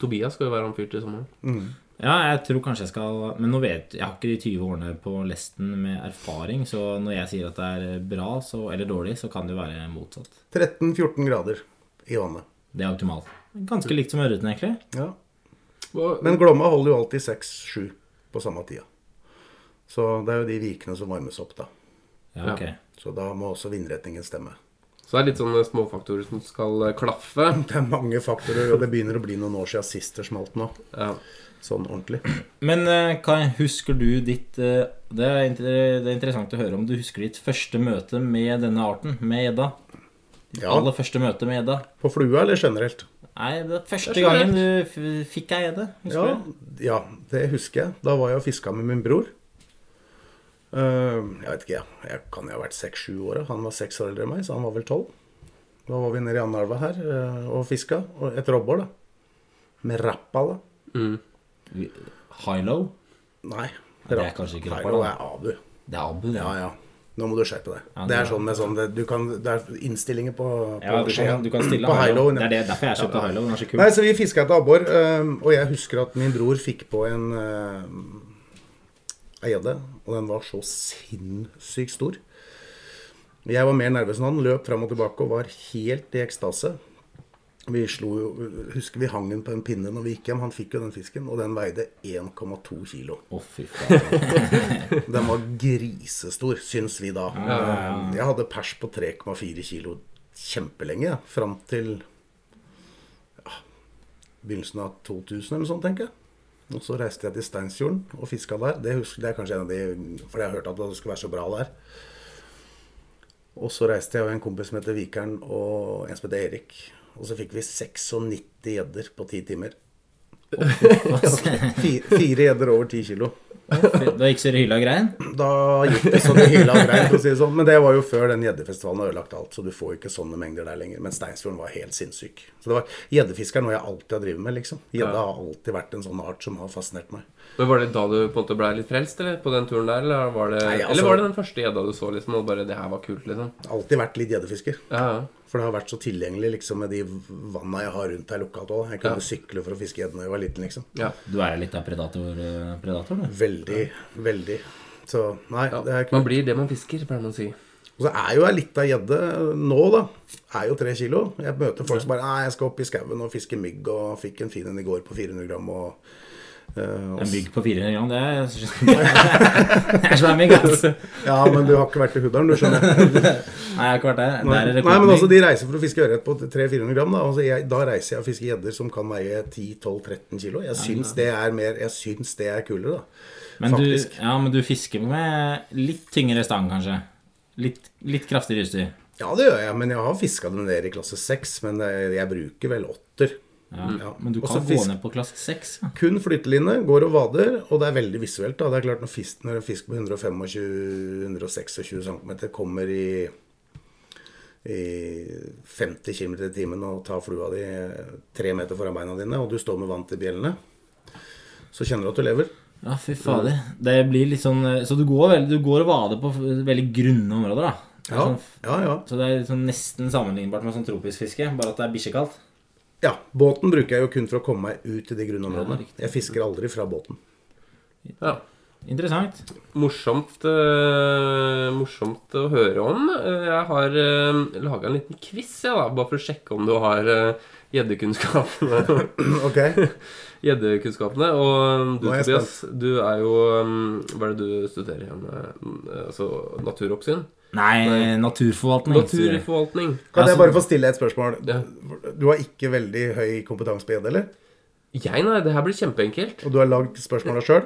Speaker 1: Tobias skal jo være han fyr til sommeren.
Speaker 5: Ja, jeg tror kanskje jeg skal Men nå vet jeg har ikke de 20 årene på lesten med erfaring, så når jeg sier at det er bra så, eller dårlig, så kan det jo være motsatt.
Speaker 6: 13-14 grader i vannet.
Speaker 5: Det er optimalt. Ganske likt som ørreten, egentlig.
Speaker 6: Ja.
Speaker 1: Hva-
Speaker 6: Men Glomma holder jo alltid 6-7 på samme tida. Så det er jo de vikene som varmes opp, da.
Speaker 5: Ja, ok.
Speaker 6: Så da må også vindretningen stemme.
Speaker 1: Så det er litt sånne småfaktorer som skal eh, klaffe.
Speaker 6: Det er mange faktorer, og det begynner å bli noen år siden sist det smalt nå.
Speaker 1: Ja.
Speaker 6: Sånn ordentlig.
Speaker 5: Men eh, Kai, husker du ditt eh, det er, inter det er interessant å høre om du husker ditt første møte med denne arten, med gjedda.
Speaker 6: Ja,
Speaker 5: Aller første møte med gjedda.
Speaker 6: På flua eller generelt?
Speaker 5: Nei, det er første
Speaker 1: Det er så
Speaker 5: gangen du f- fikk ei gjedde.
Speaker 6: Ja,
Speaker 5: Husker du?
Speaker 6: ja, det husker jeg. Da var jeg og fiska med min bror. Eh, jeg vet ikke, jeg. jeg kan jo ha vært seks-sju år. da. Han var seks år eldre enn meg, så han var vel tolv. Da var vi nede i Andelva her eh, og fiska. Og et robbor, da. Med rappala.
Speaker 5: Hilo.
Speaker 6: Nei.
Speaker 5: det er kanskje ikke
Speaker 6: Nei,
Speaker 5: rappala.
Speaker 6: Det er abu.
Speaker 5: Det er Abu, det.
Speaker 6: Ja, ja. Nå må du skjerpe deg.
Speaker 5: Ja,
Speaker 6: det
Speaker 5: det-
Speaker 6: er sånn med sånn det, du kan, det er innstillinger på, på
Speaker 5: Ja, du kan, du kan stille
Speaker 6: på
Speaker 5: high-low.
Speaker 6: high-lowen,
Speaker 5: Det
Speaker 6: ja.
Speaker 5: er det, derfor jeg kjøpte high-low. Den er så kul.
Speaker 6: Nei, så vi fiska etter abbor, øhm, og jeg husker at min bror fikk på en eh, ei gjedde, og den var så sinnssykt stor. Jeg var mer nervøs enn han, løp fram og tilbake og var helt i ekstase. Vi slo jo, Husker vi hang den på en pinne når vi gikk hjem? Han fikk jo den fisken, og den veide 1,2 kilo.
Speaker 5: Å, fy faen.
Speaker 6: Den var grisestor, syns vi da. Ehm, Jeg hadde pers på 3,4 kilo kjempelenge, fram til ja, begynnelsen av 2000 eller sånn, tenker jeg. Og så reiste jeg til Steinsfjorden og fiska der. Det, husker, det er kanskje en av de For jeg har hørt at det skulle være så bra der. Og så reiste jeg og en kompis som heter Vikeren, og en som heter Erik, Og så fikk vi 96 gjedder på 10 timer. Fi- Fire gjedder over 10 kilo.
Speaker 5: Da gikk Søre Hylla grein.
Speaker 6: Da gikk det så det hyla og greit, for å si det sånn. Men det var jo før den gjeddefestivalen har ødelagt alt, så du får jo ikke sånne mengder der lenger. Men Steinsfjorden var helt sinnssyk. Så det var gjeddefiske er noe jeg alltid har drevet med, liksom. Gjedde har alltid vært en sånn art som har fascinert meg.
Speaker 1: Men Var det da du på en måte ble litt frelst eller, på den turen der? Eller var det,
Speaker 6: Nei, altså-
Speaker 1: eller var det den første gjedda du så, liksom, og bare 'Det her var kult', liksom?
Speaker 6: Alltid vært litt gjeddefisker.
Speaker 1: Ja, ja.
Speaker 6: For det har vært så tilgjengelig liksom, med de vanna jeg har rundt her lokalt òg. Jeg kunne sykle for å fiske gjedde da jeg var liten, liksom.
Speaker 1: ja.
Speaker 5: Du er litt av predator, eh, predator du.
Speaker 6: Veldig, veldig. Så nei, det er
Speaker 1: Man
Speaker 6: kult.
Speaker 1: blir det man fisker, pleier man å si.
Speaker 6: Og så er jo ei lita gjedde nå, da. Er jo tre kilo. Jeg møter folk som bare Nei, jeg skal opp i skauen og fiske mygg, og fikk en fin en i går på 400 gram, og, eh, og
Speaker 5: En mygg på 400 gram, det er, det er svær mygg. ass.
Speaker 6: Ja, men du har ikke vært i Huddalen, du skjønner.
Speaker 5: Nei, jeg har ikke vært der.
Speaker 6: Nei,
Speaker 5: Der er
Speaker 6: men altså
Speaker 5: rekordmygg.
Speaker 6: De reiser for å fiske ørret på 300-400 gram. Da, altså, jeg, da reiser jeg og fisker gjedder som kan veie 10-12-13 kilo. Jeg syns det er mer Jeg syns det er kulere, da.
Speaker 5: Men du,
Speaker 6: faktisk.
Speaker 5: ja, men du fisker med litt tyngre stang, kanskje? Litt, litt kraftigere utstyr?
Speaker 6: Ja, det gjør jeg, men jeg har fiska dem ned i klasse 6. Men eh, jeg bruker vel åtter.
Speaker 5: Ja.
Speaker 6: Mm. Ja.
Speaker 5: Men du
Speaker 6: Også
Speaker 5: kan gå
Speaker 6: fisk-
Speaker 5: ned på klasse 6. Ja.
Speaker 6: Kun flyteline, går og vader, og det er veldig visuelt. da. Det er klart Når, fisk, når en fisk på 125-126 cm kommer i, i 50 km i timen og tar flua di tre meter foran beina dine, og du står med vann til bjellene, så kjenner du at du lever.
Speaker 5: Ja, fy fader. Det blir litt sånn eh, Så du går, vel- du går og vader på veldig grunne områder, da? Det er
Speaker 6: Ja,
Speaker 5: Sånn,
Speaker 6: ja, ja.
Speaker 5: så det er litt sånn nesten sammenlignbart med sånn tropisk fiske, bare at det er bikkjekaldt?
Speaker 6: ja. Båten bruker jeg jo kun for å komme meg ut i de grunnområdene.
Speaker 5: Ja, riktig.
Speaker 6: Jeg fisker aldri fra båten.
Speaker 1: Ja.
Speaker 5: Interessant.
Speaker 1: Morsomt, eh, morsomt å høre om. Eh, Jeg har uh, laga en liten quiz, jeg, da, bare for å sjekke om du har eh, gjeddekunnskapene.
Speaker 6: Ok,
Speaker 1: gjeddekunnskapene. Og eh, du,
Speaker 6: Nå er jeg
Speaker 1: Tobias, du er jo um, Hva er det du studerer igjen? Eh, Altså naturoppsyn?
Speaker 5: Nei, naturforvaltning.
Speaker 1: Naturforvaltning.
Speaker 6: Kan jeg
Speaker 5: Altså-
Speaker 6: bare få stille et spørsmål?
Speaker 1: Ja.
Speaker 6: Du har ikke veldig høy kompetanse på gjedde, eller?
Speaker 1: Jeg, nei. Det her blir kjempeenkelt.
Speaker 6: Og du har lagd spørsmåla sjøl?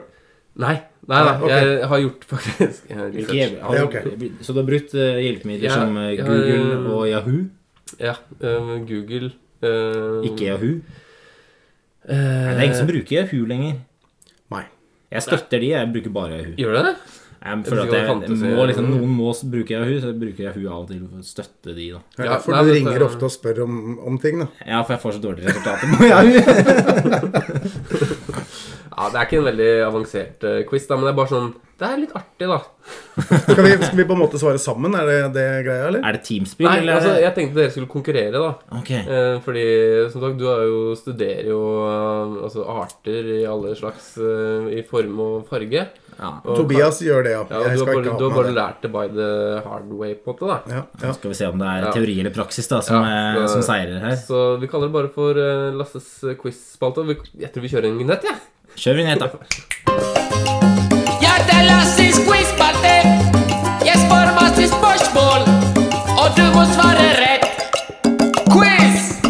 Speaker 1: Nei. Nei, nei
Speaker 6: Nei, ok.
Speaker 1: jeg har gjort faktisk jeg har
Speaker 5: Ikke-
Speaker 1: research.
Speaker 5: har
Speaker 6: Ja,
Speaker 5: du-
Speaker 6: ok.
Speaker 5: Så du har brukt eh, hjelpemidler
Speaker 1: Ja,
Speaker 5: som eh,
Speaker 1: jeg har,
Speaker 5: Google
Speaker 1: eh,
Speaker 5: og Yahoo?
Speaker 1: Ja. eh, Google eh,
Speaker 5: Ikke Yahoo?
Speaker 1: eh,
Speaker 5: Nei, det er ingen som bruker Yahoo lenger.
Speaker 6: Nei.
Speaker 5: Jeg støtter de, jeg bruker bare Yahoo.
Speaker 1: Gjør du det?
Speaker 5: Jeg
Speaker 1: tror
Speaker 5: føler
Speaker 1: ikke det
Speaker 5: at jeg
Speaker 1: fantes i-
Speaker 5: må, liksom, Noen må s- bruke Yahoo, så jeg bruker Yahoo av og til for å støtte de. da
Speaker 6: Det er
Speaker 1: Ja,
Speaker 6: derfor
Speaker 1: nei,
Speaker 6: du
Speaker 1: dette-
Speaker 6: ringer ofte og spør om, om ting, da.
Speaker 5: Ja, for jeg får så dårlige resultater på Yahoo.
Speaker 1: Ja, Det er ikke en veldig avansert eh, quiz, da, men det er bare sånn Det er litt artig, da.
Speaker 6: Skal vi, skal vi på en måte svare sammen? Er det det greia, eller?
Speaker 5: Er det teamspill,
Speaker 1: Nei,
Speaker 5: eller?
Speaker 1: altså,
Speaker 5: er det-
Speaker 1: Jeg tenkte dere skulle konkurrere, da.
Speaker 5: Ok,
Speaker 1: Eh, Fordi, som sagt, du er jo, studerer jo eh, altså, arter i alle slags eh, I form og farge.
Speaker 5: ja.
Speaker 1: Og,
Speaker 6: Tobias gjør det, ja.
Speaker 1: ja, og Du har
Speaker 6: Jeg skal
Speaker 1: bare,
Speaker 6: ikke
Speaker 1: du
Speaker 6: ha
Speaker 1: har
Speaker 6: med
Speaker 1: bare
Speaker 6: det.
Speaker 1: lært det by the hard way, på en måte. da
Speaker 6: Ja, ja.
Speaker 5: Skal vi se om det er
Speaker 1: Ja.
Speaker 5: teori eller praksis da som,
Speaker 1: Ja,
Speaker 5: eh,
Speaker 1: så-
Speaker 5: som seirer her.
Speaker 1: Så vi kaller det bare for eh, Lasses eh, quiz-spalte. og vi- Jeg tror vi kjører en vignett, jeg.
Speaker 5: Kjør vignett, da.
Speaker 7: Ja, det lasses quizpate. Jeg spør masse spørsmål, og du må svare rett. Quiz!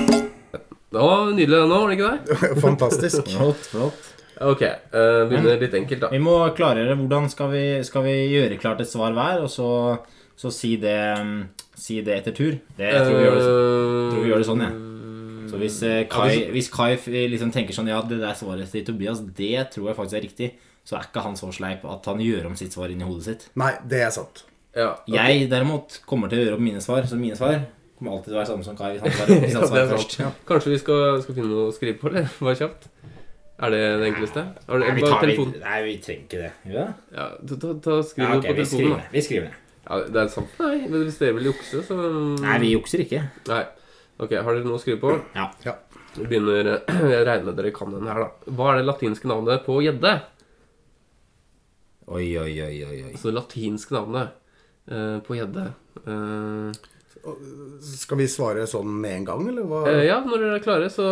Speaker 1: Det var nydelig nå, var det ikke det?
Speaker 6: Fantastisk.
Speaker 5: Flott, flott.
Speaker 1: Ok, eh, begynner litt enkelt, da.
Speaker 5: Vi må klargjøre hvordan skal vi, skal vi gjøre klart et svar hver, og så, så si, det, mm, si det etter tur. Det, jeg tror vi gjør det sånn. tror vi gjør det sånn, jeg. Så hvis eh, Kai, hvis Kai f- liksom tenker sånn Ja, det der svaret til Tobias, det tror jeg faktisk er riktig, så er ikke han så sleip at han gjør om sitt svar inni hodet sitt.
Speaker 6: Nei, det er sant.
Speaker 1: Eh, Ja,
Speaker 5: Jeg derimot kommer til å gjøre om mine svar, så mine svar kommer alltid til å være samme som Kai hvis han svarer, hvis han
Speaker 1: det er
Speaker 5: svarer først.
Speaker 1: sant. Kanskje vi skal, skal finne noe å skrive på, eller? Bare kjapt. Er det det enkleste? Har du-
Speaker 5: Nei, vi,
Speaker 1: bare
Speaker 5: tar, vi,
Speaker 1: telefon-
Speaker 5: nei, vi trenger ikke det. Gjør vi det?
Speaker 1: Ja, ta, ta, ta, skriv
Speaker 5: Ja,
Speaker 1: det
Speaker 5: ok,
Speaker 1: på
Speaker 5: vi
Speaker 1: telefonen,
Speaker 5: skriver
Speaker 1: da.
Speaker 5: det. Vi skriver det.
Speaker 1: Ja, det er sant. Nei, men hvis dere vil jukse, så
Speaker 5: Nei, vi jukser ikke.
Speaker 1: Nei. Ok, har dere noe å skrive på?
Speaker 5: Ja.
Speaker 6: Ja.
Speaker 1: Vi begynner Jeg regner med dere kan den her, da. Hva er det latinske navnet på gjedde?
Speaker 5: Oi, oi, oi, oi, oi.
Speaker 1: Altså det latinske navnet eh, på gjedde. Eh,
Speaker 6: Skal vi svare sånn med en gang, eller hva?
Speaker 1: eh, ja, når dere er klare, så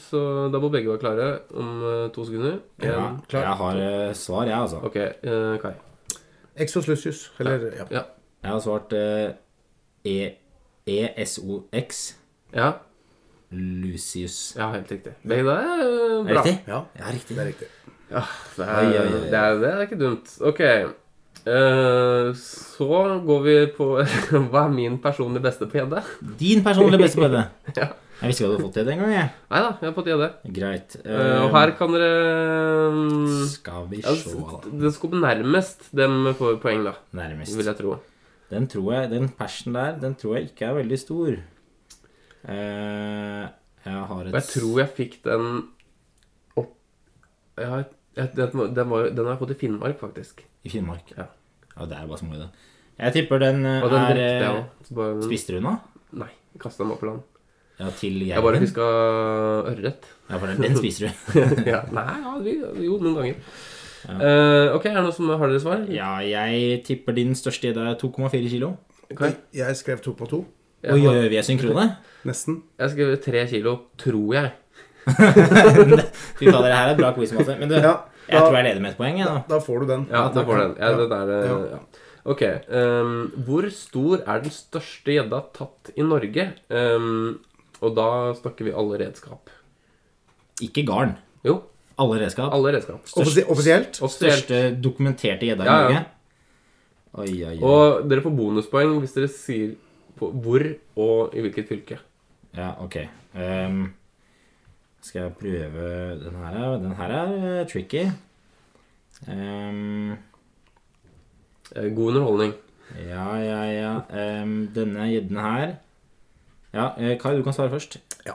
Speaker 1: Så da må begge være klare om eh, to sekunder. En.
Speaker 5: Ja,
Speaker 6: klar.
Speaker 5: jeg har eh, svar, jeg, altså.
Speaker 1: Ok, eh, Kai.
Speaker 6: Exos lucius, eller ja.
Speaker 1: Ja.
Speaker 5: Jeg har svart eh, E- ESOX
Speaker 1: Ja,
Speaker 5: Lucius.
Speaker 1: ja helt riktig. Det, det er eh,
Speaker 5: Er det
Speaker 1: bra.
Speaker 5: riktig?
Speaker 6: Ja,
Speaker 5: Ja, riktig.
Speaker 6: det er riktig.
Speaker 1: Ja, det
Speaker 5: Oi,
Speaker 1: er,
Speaker 5: oi, oi.
Speaker 1: det er, det er ikke dumt. Ok. Eh, så går vi på Hva er min personlig beste PD?
Speaker 5: Din personlige beste bøtte.
Speaker 1: Ja.
Speaker 5: Jeg visste ikke at du hadde fått det den gangen. jeg.
Speaker 1: Nei da, jeg er på tide.
Speaker 5: Greit.
Speaker 1: Eh, og her kan dere
Speaker 5: Eh,
Speaker 1: mm,
Speaker 5: skal vi
Speaker 1: ja,
Speaker 5: se
Speaker 1: s- Det skal komme nærmest dem får poeng, da. Vil
Speaker 5: Nærmest.
Speaker 1: jeg tro.
Speaker 5: Den tror jeg, den persen der, den tror jeg ikke er veldig stor. Eh, jeg har et
Speaker 1: Og jeg tror jeg fikk den opp jeg har, jeg, den, var- den, var, den har jeg fått i Finnmark, faktisk.
Speaker 5: I Finnmark.
Speaker 1: Ja.
Speaker 5: Ja, det er bare små i det. Jeg tipper den, eh,
Speaker 1: Og den
Speaker 5: er
Speaker 1: drepte jeg
Speaker 5: eh,
Speaker 1: òg. Så bare-
Speaker 5: Spiste du den, da?
Speaker 1: Nei. Kasta den opp i land.
Speaker 5: Ja, til
Speaker 1: Jeg bare
Speaker 5: jerven?
Speaker 1: huska ørret.
Speaker 5: Ja, for den, den spiser du.
Speaker 1: ja. Nei, ja, vi, jo, noen ganger. Eh, ok, er det noen som har dere svar?
Speaker 5: Ja, jeg tipper din største gjedde er 2,4 kilo.
Speaker 1: Ok.
Speaker 6: Jeg skrev to på to.
Speaker 1: Jeg,
Speaker 5: Oi, oi,
Speaker 1: har-
Speaker 5: oi, vi er synkrone.
Speaker 6: Nesten.
Speaker 1: jeg skrev tre kilo, tror jeg.
Speaker 5: Fy fader, det her er bra quiz, Matte. Men du,
Speaker 6: Ja,
Speaker 5: jeg
Speaker 6: da-
Speaker 5: tror jeg leder med et poeng, jeg, da.
Speaker 6: Da får du den.
Speaker 1: Ja, da får den. Ja,
Speaker 6: Ja,
Speaker 1: det der, eh,
Speaker 6: ja.
Speaker 1: ja. Ok. ehm, hvor stor er den største gjedda tatt i Norge? Ehm, og da snakker vi alle redskap.
Speaker 5: Ikke garn.
Speaker 1: Jo,
Speaker 5: Alle redskap.
Speaker 1: alle redskap.
Speaker 6: Offisi offisielt?
Speaker 1: Og spesielt-
Speaker 5: Største dokumenterte gjedda i
Speaker 1: Ja, ja.
Speaker 5: Norge. Oi, oi, oi.
Speaker 1: Og dere får bonuspoeng hvis dere sier på hvor og i hvilket fylke.
Speaker 5: Ja, ok. Ehm, skal jeg prøve Den her er, den her er eh, tricky. Ehm,
Speaker 1: Eh, God underholdning.
Speaker 5: ja, ja, ja. Ehm, denne gjedden her Ja, eh, Kai, du kan svare først.
Speaker 6: Ja.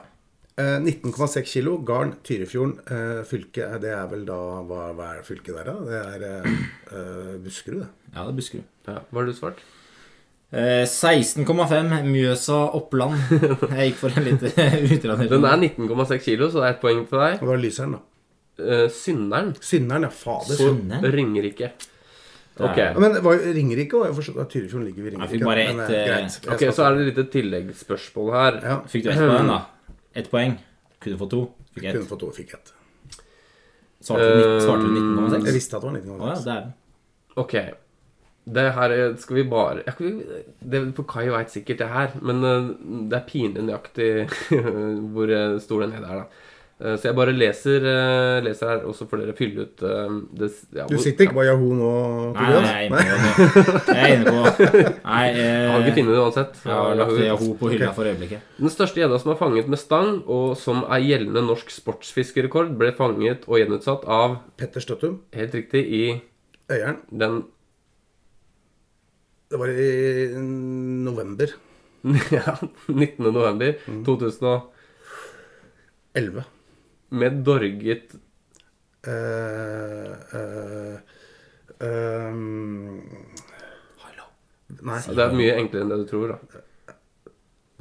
Speaker 6: Eh, 19,6 kilo, garn, Tyrifjorden. Eh, fylke, eh, det er vel da Hva, hva er fylket der, da? Det er eh, eh, Buskerud, det.
Speaker 5: Ja, det er Buskerud.
Speaker 1: Ja, hva har du svart?
Speaker 5: Eh, 16,5 Mjøsa Oppland. Jeg gikk for en litt utradert
Speaker 1: Den er 19,6 kilo, så det er ett poeng til deg.
Speaker 6: Og det var Lyseren, da.
Speaker 1: Eh, Synderen.
Speaker 6: Synderen, ja. Fader.
Speaker 5: Sønne?
Speaker 1: Ringerike.
Speaker 6: Ja,
Speaker 1: Ok.
Speaker 6: men det var jo Ringerike, og jeg forstår at Tyrifjorden ligger ved
Speaker 5: Jeg
Speaker 6: Ringerike.
Speaker 5: fikk bare
Speaker 6: men,
Speaker 5: ett,
Speaker 6: eh,
Speaker 5: eh,
Speaker 6: greit. Jeg
Speaker 1: Ok,
Speaker 6: skal-
Speaker 1: Så er det et lite tilleggsspørsmål her.
Speaker 6: ja,
Speaker 5: Fikk du ett poeng, da? Ett poeng. Kunne få to. Fikk
Speaker 6: Kunne
Speaker 5: ett.
Speaker 6: fått to, fikk ett.
Speaker 5: Svarte du nitt- svarte du
Speaker 1: Eh,
Speaker 6: Jeg
Speaker 5: 19,6?
Speaker 6: visste at det var 19,6.
Speaker 5: Å ja, det er den.
Speaker 1: Ok. Det her er- skal vi bare jeg, kan vi- det, For Kai veit sikkert det her, men eh, det er pinlig nøyaktig hvor eh, stor den nede er, da. Eh, så jeg bare leser, eh, leser her, og så får dere fylle ut eh, det, s- ja,
Speaker 6: Du
Speaker 1: hvor-
Speaker 6: sitter ikke på Yahoo nå,
Speaker 5: Nei,
Speaker 6: Tobias?
Speaker 5: jeg er inne på det. Jeg er inne på Nei,
Speaker 1: Jeg har ikke funnet
Speaker 5: eh,
Speaker 1: det uansett.
Speaker 5: jeg har
Speaker 1: Jeg
Speaker 5: lagt
Speaker 1: har-
Speaker 5: ho på hylla for øyeblikket.
Speaker 1: Den største gjedda som er fanget med stang, og som er gjeldende norsk sportsfiskerekord, ble fanget og gjenutsatt av,
Speaker 6: Petter Støttum,
Speaker 1: helt riktig, i
Speaker 6: Øyeren.
Speaker 1: den
Speaker 6: Det var i november
Speaker 1: ja, 19. november
Speaker 6: Mm.
Speaker 1: 2000 og
Speaker 6: 11.
Speaker 1: med dorget
Speaker 6: Eh, eh, ehm, Nei,
Speaker 1: Det er mye enklere enn det du tror, da.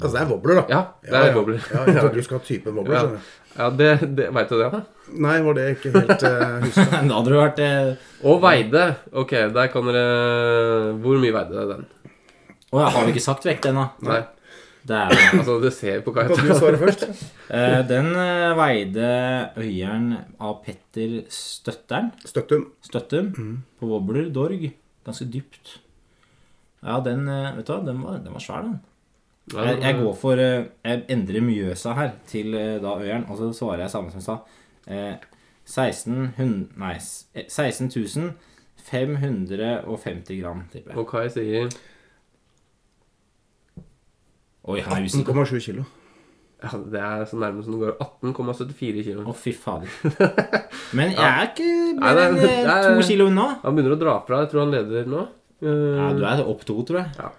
Speaker 6: altså det er wobbler, da.
Speaker 1: Ja, det er bobler.
Speaker 6: Ja, jeg trodde du skulle ha typen wobbler.
Speaker 1: Ja,
Speaker 6: skjønner du.
Speaker 1: ja det, det veit du det? da?
Speaker 6: Nei, var det ikke helt eh, huska.
Speaker 5: Da hadde du vært eh,
Speaker 1: Og veide. Ok, der kan dere Hvor mye veide den?
Speaker 5: Å ja, har vi ikke sagt vekk den, da?
Speaker 1: Nei,
Speaker 5: Dæven.
Speaker 1: altså du ser på hva jeg
Speaker 6: Kan du svare først?
Speaker 5: Eh, den eh, veide øyeren av Petter Støtteren.
Speaker 6: Støttum.
Speaker 5: Støttum.
Speaker 1: Mm.
Speaker 5: På Wobbler Dorg. Ganske dypt. Ja, den eh, Vet du hva, den var, den var svær, den. Jeg, jeg går for eh, Jeg endrer Mjøsa her til eh, da Øyeren, og så svarer jeg samme som i stad. Eh, 16 hun- Nei, s- eh, 16 550 gram, tipper jeg.
Speaker 1: Og Kai sier ja,
Speaker 5: Oi, han
Speaker 1: Mm.
Speaker 5: er usikker.
Speaker 6: 1,7 kilo.
Speaker 1: Det er så nærme som det går. 18,74
Speaker 5: Å,
Speaker 1: kilo.
Speaker 5: fy fader. Men jeg er ikke mer
Speaker 1: Nei,
Speaker 5: enn
Speaker 1: det er-
Speaker 5: eh,
Speaker 1: det er-
Speaker 5: to kilo unna.
Speaker 1: Han begynner å dra fra. Jeg tror han leder nå. Eh,
Speaker 5: Ja, du er opp to, tror jeg.
Speaker 1: Ja.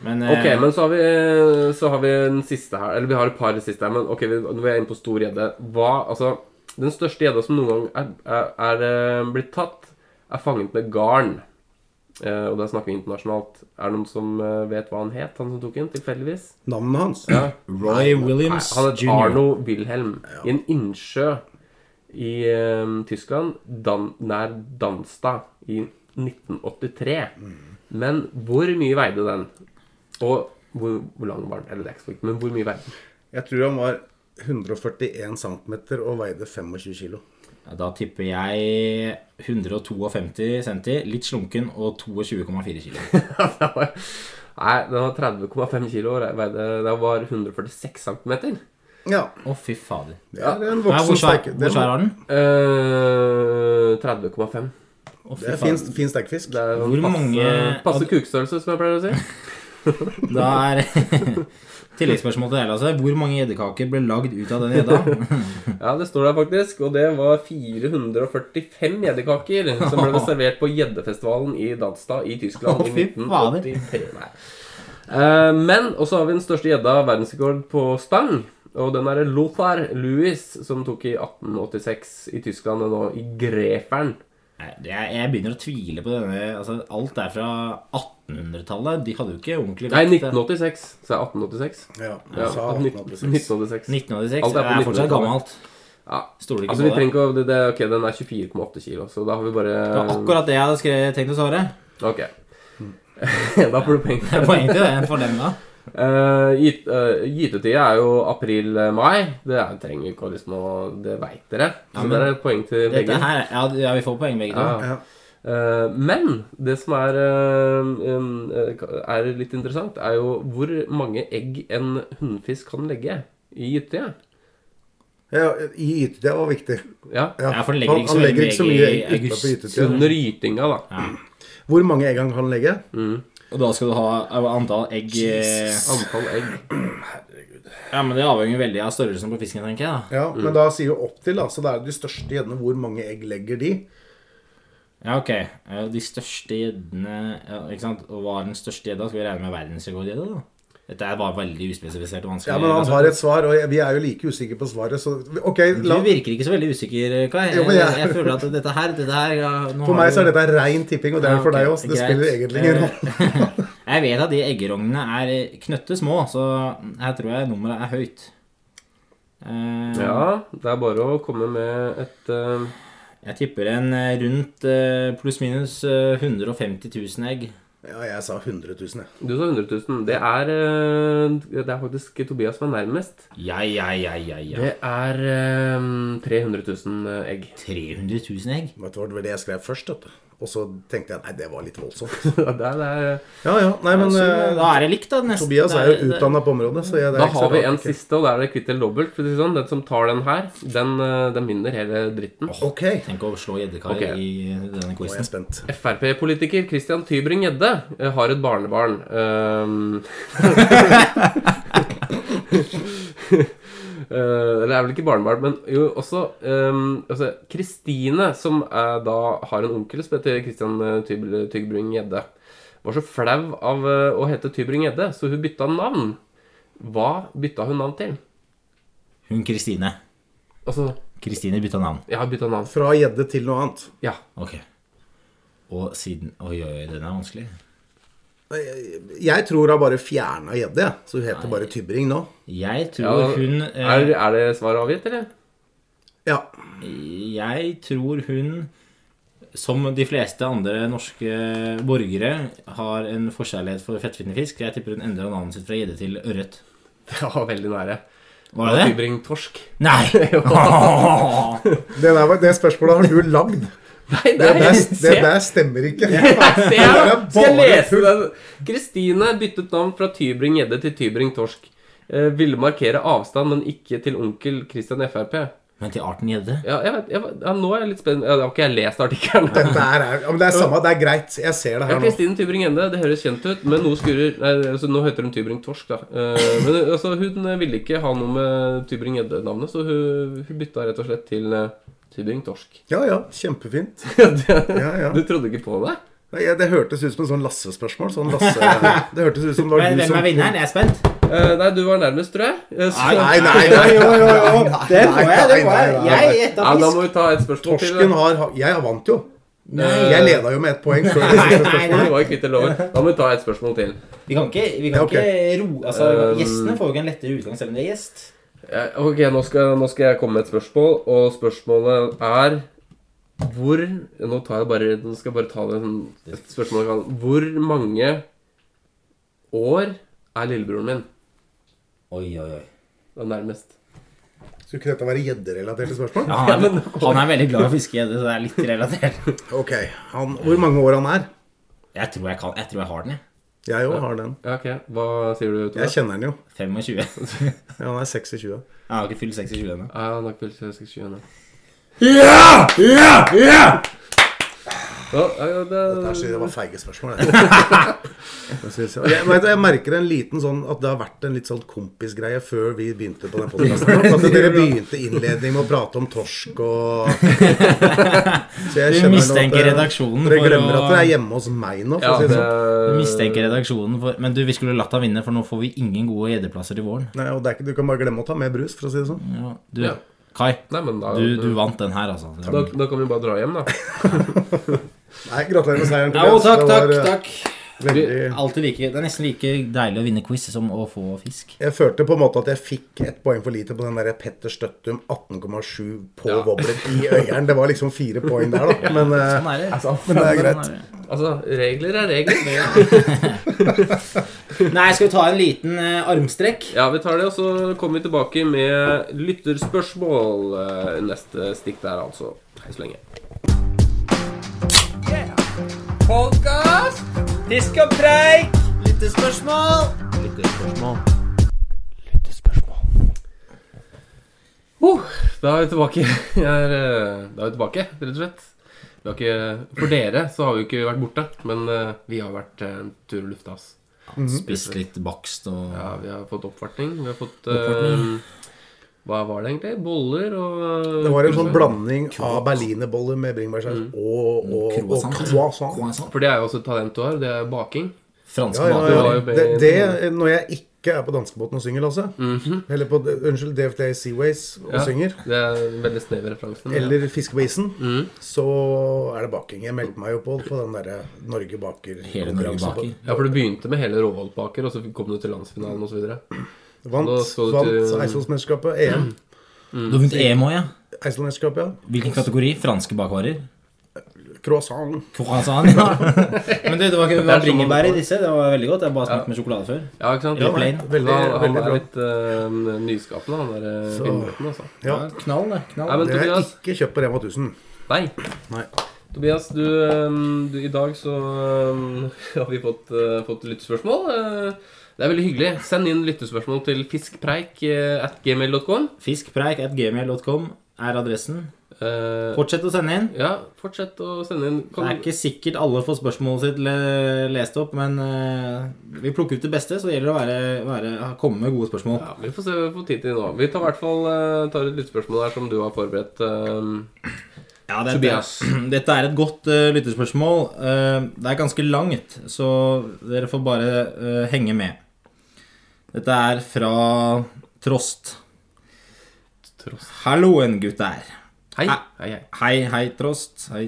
Speaker 5: Men, eh,
Speaker 1: Ok, men så har, vi, eh, så har vi en siste her. Eller vi har et par siste her, men ok, vi, nå er jeg inne på stor gjedde. Hva Altså, den største gjedda som noen gang er, er, er eh, blitt tatt, er fanget med garn. Eh, og da snakker vi internasjonalt. Er det noen som eh, vet hva han het, han som tok den, tilfeldigvis?
Speaker 6: Navnet hans?
Speaker 5: Roy
Speaker 1: Nei,
Speaker 5: Williams
Speaker 1: han het
Speaker 5: jr.
Speaker 1: Arno Wilhelm i en innsjø i eh, Tyskland, dan, nær Danstad, i 1983. Men hvor mye veide den? Og hvor, hvor lang var den? Eller det er ikke så viktig, men hvor mye veide den?
Speaker 6: Jeg tror han var 141 cm og veide 25 kilo.
Speaker 5: Ja, Da tipper jeg 152 centi, litt slunken og 22,4 kilo.
Speaker 1: Det var- Nei, den var 30,5 kilo og veide Den var 146 cm.
Speaker 6: Ja.
Speaker 5: Å, fy fader.
Speaker 6: Det er en
Speaker 5: Nei,
Speaker 6: voksen
Speaker 1: sånn-
Speaker 5: hvor svær,
Speaker 6: sterk- det
Speaker 5: hvor
Speaker 6: er-
Speaker 1: Eh,
Speaker 5: svær er den?
Speaker 1: 30,5.
Speaker 5: Å, fy
Speaker 6: Det er
Speaker 5: faen.
Speaker 6: fin, fin stekfisk.
Speaker 1: Det er sånn
Speaker 5: Hvor
Speaker 1: passe,
Speaker 5: mange-
Speaker 1: passe kukstørrelse, som jeg pleier å si.
Speaker 5: Da er Tilleggsspørsmål til deg, Lasse. Hvor mange edderkaker ble lagd ut av den gjedda?
Speaker 1: Ja, det står der faktisk. Og det var 445 gjeddekaker som ble servert på gjeddefestivalen i Dadstad i Tyskland
Speaker 5: Å,
Speaker 1: i
Speaker 5: fy fader.
Speaker 1: 1983. Nei. Eh, men og så har vi den største gjedda verdensrekord på stang. Og den er det Lothar Louis som tok i 1886 i Tyskland, og nå i Greferen.
Speaker 5: Nei, det er- Jeg begynner å tvile på denne altså, Alt er fra 1800-tallet. De hadde jo ikke ordentlig
Speaker 1: Nei,
Speaker 5: vekt.
Speaker 1: 1986. Så er 1886.
Speaker 6: Ja,
Speaker 1: Ja,
Speaker 6: sa 1886.
Speaker 1: 1986.
Speaker 5: 1986.
Speaker 1: Alt er
Speaker 5: Det
Speaker 1: på
Speaker 5: er fortsatt
Speaker 1: 1900-tallet.
Speaker 5: gammelt.
Speaker 1: Ja.
Speaker 5: Stoler ikke
Speaker 1: Altså, vi
Speaker 5: på det.
Speaker 1: trenger ikke å det, det, Ok, den er 24,8 kilo, så da har vi bare
Speaker 5: Det var akkurat det jeg hadde skrevet, tenkt å svare.
Speaker 1: Ok.
Speaker 5: Mm.
Speaker 1: da får du penger.
Speaker 5: Det er poeng til det for dem, da.
Speaker 1: Uh, Gytetida er jo april-mai. Det er, trenger vi ikke å liksom å Det veit dere. Så
Speaker 5: men-
Speaker 1: det er et poeng til begge.
Speaker 5: Dette her, ja, ja, vi får poeng begge to.
Speaker 1: Ja.
Speaker 6: Ja.
Speaker 1: Eh, men det som er, eh, um, eh, er litt interessant, er jo hvor mange egg en hunnfisk kan legge i gytetida.
Speaker 6: Ja, I ytetida var viktig.
Speaker 1: Ja.
Speaker 5: Ja, for den legger
Speaker 6: han-
Speaker 5: ikke så
Speaker 6: han
Speaker 5: mye
Speaker 6: legger ikke så
Speaker 5: egg
Speaker 6: mye
Speaker 5: i
Speaker 6: egg
Speaker 5: august.
Speaker 6: utenfor ytetida.
Speaker 1: Under gytinga, da.
Speaker 6: Hvor mange egg han kan legge?
Speaker 1: Mm.
Speaker 5: Og da skal du ha eh, antall egg eh,
Speaker 1: Antall egg.
Speaker 5: Ja, men Det avhenger veldig av størrelsen på fisken, tenker jeg. da
Speaker 6: Ja, Men da sier du opp til, da. Så det er de største gjeddene. Hvor mange egg legger de?
Speaker 5: Ja, ok. Eh, De største gjeddene ja, Ikke sant? Og hva er den største gjedda? Skal vi regne med verdensrekordgjedda, da? Dette er bare veldig uspesifisert og vanskelig.
Speaker 6: Ja, men han har et svar, og jeg- vi er jo like usikre på svaret, så ok
Speaker 5: Altså, Du
Speaker 6: la,
Speaker 5: virker ikke så veldig usikker, eh, Kai.
Speaker 6: Jo, men jeg-
Speaker 5: Jeg føler at dette her, dette her ja, nå
Speaker 6: For
Speaker 5: har
Speaker 6: meg
Speaker 5: du-
Speaker 6: så er dette rein tipping, og det er
Speaker 5: Ja,
Speaker 6: det for
Speaker 5: ok,
Speaker 6: deg også. Det
Speaker 5: greit.
Speaker 6: spiller egentlig ingen rolle.
Speaker 5: Eh, Jeg vet at de eggerognene er knøttesmå, så her tror jeg nummeret er høyt. Eh,
Speaker 1: Ja, det er bare å komme med et eh,
Speaker 5: Jeg tipper en eh, rundt eh, pluss-minus eh, 150 000 egg.
Speaker 6: Ja, jeg sa 100 000, jeg.
Speaker 1: Du sa 100 000. Det er, eh, det er faktisk Tobias som er nærmest.
Speaker 5: Ja, ja, ja, ja, ja.
Speaker 1: Det er ehm, 300 000 egg.
Speaker 5: 300 000 egg?
Speaker 6: Vet du hva, det var det jeg skrev først, vet du. Og så tenkte jeg nei, det var litt voldsomt.
Speaker 1: det er, det er,
Speaker 6: Ja ja, nei, men
Speaker 5: Så
Speaker 6: eh,
Speaker 5: da er det likt, da. Nesten.
Speaker 6: Tobias
Speaker 5: Det
Speaker 6: er jo
Speaker 5: det-
Speaker 6: utdanna på området, så jeg, det er
Speaker 1: da
Speaker 6: ikke så
Speaker 1: har vi en
Speaker 6: rart ikke-
Speaker 1: siste, og da er det kvitt eller dobbelt. For å si det sånn. Den som tar den her, den, eh, den vinner hele dritten.
Speaker 6: Ok,
Speaker 5: Tenk å slå gjeddekar
Speaker 1: Ok.
Speaker 5: i denne
Speaker 6: nå er jeg
Speaker 5: quizen.
Speaker 6: spent.
Speaker 1: Frp-politiker Christian Tybring-Gjedde eh, har et barnebarn. ehm. Eh, Eller det er vel ikke barnebarn, men jo også ehm, altså, Kristine, som eh, da har en onkel som heter Christian eh, Tyb- Tybring-Gjedde, var så flau av eh, å hete Tybring-Gjedde, så hun bytta navn. Hva bytta hun navn til?
Speaker 5: Hun Kristine.
Speaker 1: Altså,
Speaker 5: Kristine bytta navn.
Speaker 1: jeg har bytta navn.
Speaker 6: Fra gjedde til noe annet.
Speaker 1: Ja.
Speaker 5: Ok. Og siden Oi, oi, oi, den er vanskelig.
Speaker 6: Jeg tror hun bare fjerna gjedde, jeg. Så hun heter bare Tybring nå.
Speaker 5: Jeg
Speaker 1: ja
Speaker 5: tror hun eh,
Speaker 1: er, er det svaret avgitt, eller?
Speaker 6: Ja.
Speaker 5: Jeg tror hun, som de fleste andre norske borgere, har en forkjærlighet for fettfinnende fisk. Jeg tipper hun endra navnet sitt fra gjedde til ørret.
Speaker 1: Ja, veldig nære.
Speaker 5: Var det det?
Speaker 1: Tybring-torsk.
Speaker 5: Nei!
Speaker 6: Det, der, var- det spørsmålet har du lagd.
Speaker 1: Nei,
Speaker 6: Det,
Speaker 1: nei,
Speaker 6: der-
Speaker 1: se.
Speaker 6: det der stemmer ikke.
Speaker 1: Se her, da. Skal jeg
Speaker 6: bare
Speaker 1: lese den? Kristine byttet navn fra Tybring-Gjedde til Tybring-Torsk. Eh, ville markere avstand, men ikke til onkel Christian Frp.
Speaker 5: Men til arten gjedde?
Speaker 1: Ja, jeg vet, jeg, vet- ja, nå er jeg litt spent. Ja, da har ikke jeg lest artikkelen.
Speaker 6: Dette her er, ja, men det er samme, det er greit. Jeg ser det
Speaker 1: Ja,
Speaker 6: her nå.
Speaker 1: Kristine Tybring-Gjedde, det høres kjent ut, men nå skurrer Nei, altså, nå heter hun Tybring-Torsk, da. Eh, men altså, hun eh, ville ikke ha noe med Tybring-Gjedde-navnet, så hun, hun bytta rett og slett til eh, Tybring-Torsk.
Speaker 6: Ja ja, kjempefint. Ja, ja.
Speaker 1: Du trodde ikke på det?
Speaker 6: Nei, ja, Det hørtes ut som en sånn Lasse-spørsmål. Sånn Lasse, det hørtes ut som det var
Speaker 5: Men
Speaker 6: du
Speaker 5: hvem
Speaker 6: som
Speaker 5: er vinneren? Jeg er spent.
Speaker 1: Eh, nei, du var nærmest, tror jeg. Eh, så-
Speaker 6: Nei, nei, nei.
Speaker 5: Jo, jo, jo. Det
Speaker 6: Nei,
Speaker 5: får jeg. Det
Speaker 6: nei,
Speaker 5: får jeg.
Speaker 6: nei, nei,
Speaker 5: Jeg
Speaker 6: nei.
Speaker 5: gjetta
Speaker 1: Ja, da
Speaker 5: fisk.
Speaker 1: må vi ta et spørsmål til.
Speaker 6: Torsken har Jeg vant jo. Eh,
Speaker 5: Nei.
Speaker 6: Jeg leda jo med ett poeng før det
Speaker 5: Nei,
Speaker 6: siste spørsmålet.
Speaker 5: nei.
Speaker 1: Det var jo kvitt eller over. Da må vi ta et spørsmål til.
Speaker 5: Vi kan ikke, vi kan
Speaker 6: Ja, ok.
Speaker 5: ikke ro... Altså,
Speaker 1: Um,
Speaker 5: gjestene får jo ikke en lettere utgang selv om de er gjest.
Speaker 1: Eh, Ok, nå skal, nå skal jeg komme med et spørsmål, og spørsmålet er hvor Nå tar jeg bare, nå skal jeg bare ta det sånn- et spørsmål jeg kan- Hvor mange år er lillebroren min?
Speaker 5: Oi, oi, oi.
Speaker 1: Det er nærmest.
Speaker 6: Skulle ikke dette være gjedderelaterte spørsmål?
Speaker 5: Ja, han, er, han er veldig glad i å fiske gjedde, så det er litt relatert.
Speaker 6: Ok, han, Hvor mange år han er?
Speaker 5: Jeg tror jeg, kan, jeg, tror jeg har den, jeg.
Speaker 6: Jeg òg har den.
Speaker 1: Ja, ok. Hva sier du, Tore?
Speaker 6: Jeg kjenner den jo.
Speaker 5: 25. Jeg
Speaker 6: Ja, han er 26.
Speaker 5: har ikke fylt 26 ennå.
Speaker 1: Ja, han har ikke fylt 26 ennå.
Speaker 5: Ja! Ja! Ja!
Speaker 1: Ja, ja, det,
Speaker 6: Dette synes jeg det var feige spørsmål. Jeg, jeg, synes, og jeg, vet du, jeg merker en liten sånn at det har vært en litt sånn kompisgreie før vi begynte på den podkasten. At dere begynte innledning med å prate om torsk og Så
Speaker 5: Du
Speaker 6: jeg kjenner nå at,
Speaker 5: mistenker
Speaker 6: eh,
Speaker 5: redaksjonen
Speaker 6: Dere
Speaker 5: for
Speaker 6: glemmer
Speaker 5: å-
Speaker 6: at dere er hjemme hos meg nå, for
Speaker 1: ja,
Speaker 6: å si det
Speaker 1: det,
Speaker 6: sånn.
Speaker 5: Du mistenker redaksjonen for Men du, vi skulle latt deg vinne, for nå får vi ingen gode gjeddeplasser til våren.
Speaker 6: Nei, og det er ikke, Du kan bare glemme å ta med brus, for å si det sånn.
Speaker 5: Ja, du,
Speaker 1: Ja.
Speaker 5: Kai,
Speaker 1: Nei, men da,
Speaker 5: du, du vant den her, altså.
Speaker 1: da, da kan vi bare dra hjem, da.
Speaker 6: Nei, Gratulerer med seieren.
Speaker 5: Ja, og takk,
Speaker 6: Tobias. Det
Speaker 5: takk,
Speaker 6: var, eh,
Speaker 5: takk.
Speaker 6: Veldig...
Speaker 5: Alltid like, det er nesten like deilig å vinne quiz som å få fisk.
Speaker 6: Jeg følte på en måte at jeg fikk ett poeng for lite på den der Petter Støttum 18,7 på wobbler i øyeren. Det var liksom fire poeng der, da. Men, eh,
Speaker 5: Sånn er det.
Speaker 6: men det er
Speaker 5: Sånn
Speaker 6: greit.
Speaker 5: er det.
Speaker 1: Altså, regler er regler.
Speaker 5: Nei, skal vi ta en liten eh, armstrekk?
Speaker 1: Ja, vi tar det, og så kommer vi tilbake med lytterspørsmål eh, neste stikk der, altså. Hei så lenge. Da er vi tilbake. Jeg Er, eh, da er vi tilbake, rett og slett. Vi har ikke, for dere så har vi jo ikke vært borte, men eh, vi har vært eh, en tur og lufta oss.
Speaker 5: Spist litt bakst og
Speaker 1: Ja, vi har fått oppvartning. Vi har fått eh, Hva var det egentlig? Boller og eh,
Speaker 6: Det var en sånn
Speaker 1: pølser.
Speaker 6: blanding av berlinerboller med bringebærsaus
Speaker 1: Mm.
Speaker 6: og, og, og croissant.
Speaker 5: Croissant.
Speaker 1: For det er jo også et talent du har. Det er baking.
Speaker 5: Franske
Speaker 6: Ja, ja,
Speaker 1: Det var jo
Speaker 6: ja. Det,
Speaker 1: begge-
Speaker 6: det når jeg ikke er på danskebåten og synger, Lasse. Eller på unnskyld, DFD Seaways og
Speaker 1: Mhm. Ja.
Speaker 6: synger.
Speaker 1: Det er en veldig snev referanse. men ja. Mm.
Speaker 6: Eller fiske på isen. Så er det baking. Jeg meldte meg jo på på den derre Norge
Speaker 5: Hele Norge
Speaker 6: baker-konkurransen.
Speaker 5: baker.
Speaker 1: Ja, for du begynte med hele Råvollbaker, og så kom du til landsfinalen osv.
Speaker 6: Vant,
Speaker 1: Da skal du
Speaker 6: vant
Speaker 1: til- Mm.
Speaker 6: Eidsvollsmesterskapet. EM.
Speaker 5: Du har vunnet EM òg, ja.
Speaker 6: Eidsvollsmesterskapet, ja.
Speaker 5: Hvilken kategori? Franske bakvarer?
Speaker 6: Croissant.
Speaker 5: Croissant, ja. Men du, det var ikke
Speaker 1: Det er
Speaker 5: det var
Speaker 1: sånn
Speaker 5: bringebær
Speaker 1: man
Speaker 5: i disse. Det var veldig godt. Jeg har bare smakt med sjokolade før.
Speaker 1: Ja, ikke sant?
Speaker 5: Ja,
Speaker 1: Han,
Speaker 5: nei,
Speaker 6: veldig-
Speaker 1: han
Speaker 6: veldig
Speaker 1: er
Speaker 6: bra.
Speaker 1: litt eh, nyskapende, han der eh,
Speaker 6: Så-
Speaker 1: finnbretten, altså.
Speaker 6: Ja.
Speaker 5: Knall, det. Knall.
Speaker 1: Nei, men
Speaker 6: Det er
Speaker 1: Tobias,
Speaker 6: ikke kjøpt på Rema 1000.
Speaker 1: nei.
Speaker 6: Nei.
Speaker 1: Tobias, du, eh, du I dag så eh, har vi fått, eh, fått lyttespørsmål. eh. Det er veldig hyggelig. Send inn lyttespørsmål til fiskpreik eh, at gmail.com.
Speaker 5: Fiskpreik at gmail.com er adressen.
Speaker 1: Eh,
Speaker 5: Fortsett å sende inn.
Speaker 1: ja, fortsett å sende inn.
Speaker 5: Det
Speaker 1: Kan,
Speaker 5: er ikke sikkert alle får spørsmålet sitt le- lest opp, men eh, vi plukker ut det beste, så det gjelder å være, være, komme med gode spørsmål.
Speaker 1: Ja, Vi får se hva vi får tid til nå. Vi tar i hvert fall eh, tar et lyttespørsmål her som du har forberedt. eh,
Speaker 5: Ja, dette,
Speaker 1: Tobias.
Speaker 5: dette er et godt eh, lytterspørsmål. Eh, det er ganske langt, så dere får bare eh, henge med. Dette er fra Trost.
Speaker 1: Trost.
Speaker 5: Halloen, gutter.
Speaker 1: Hei.
Speaker 5: Hei.
Speaker 1: Hei, hei.
Speaker 5: Hei, hei, Trost. Hei.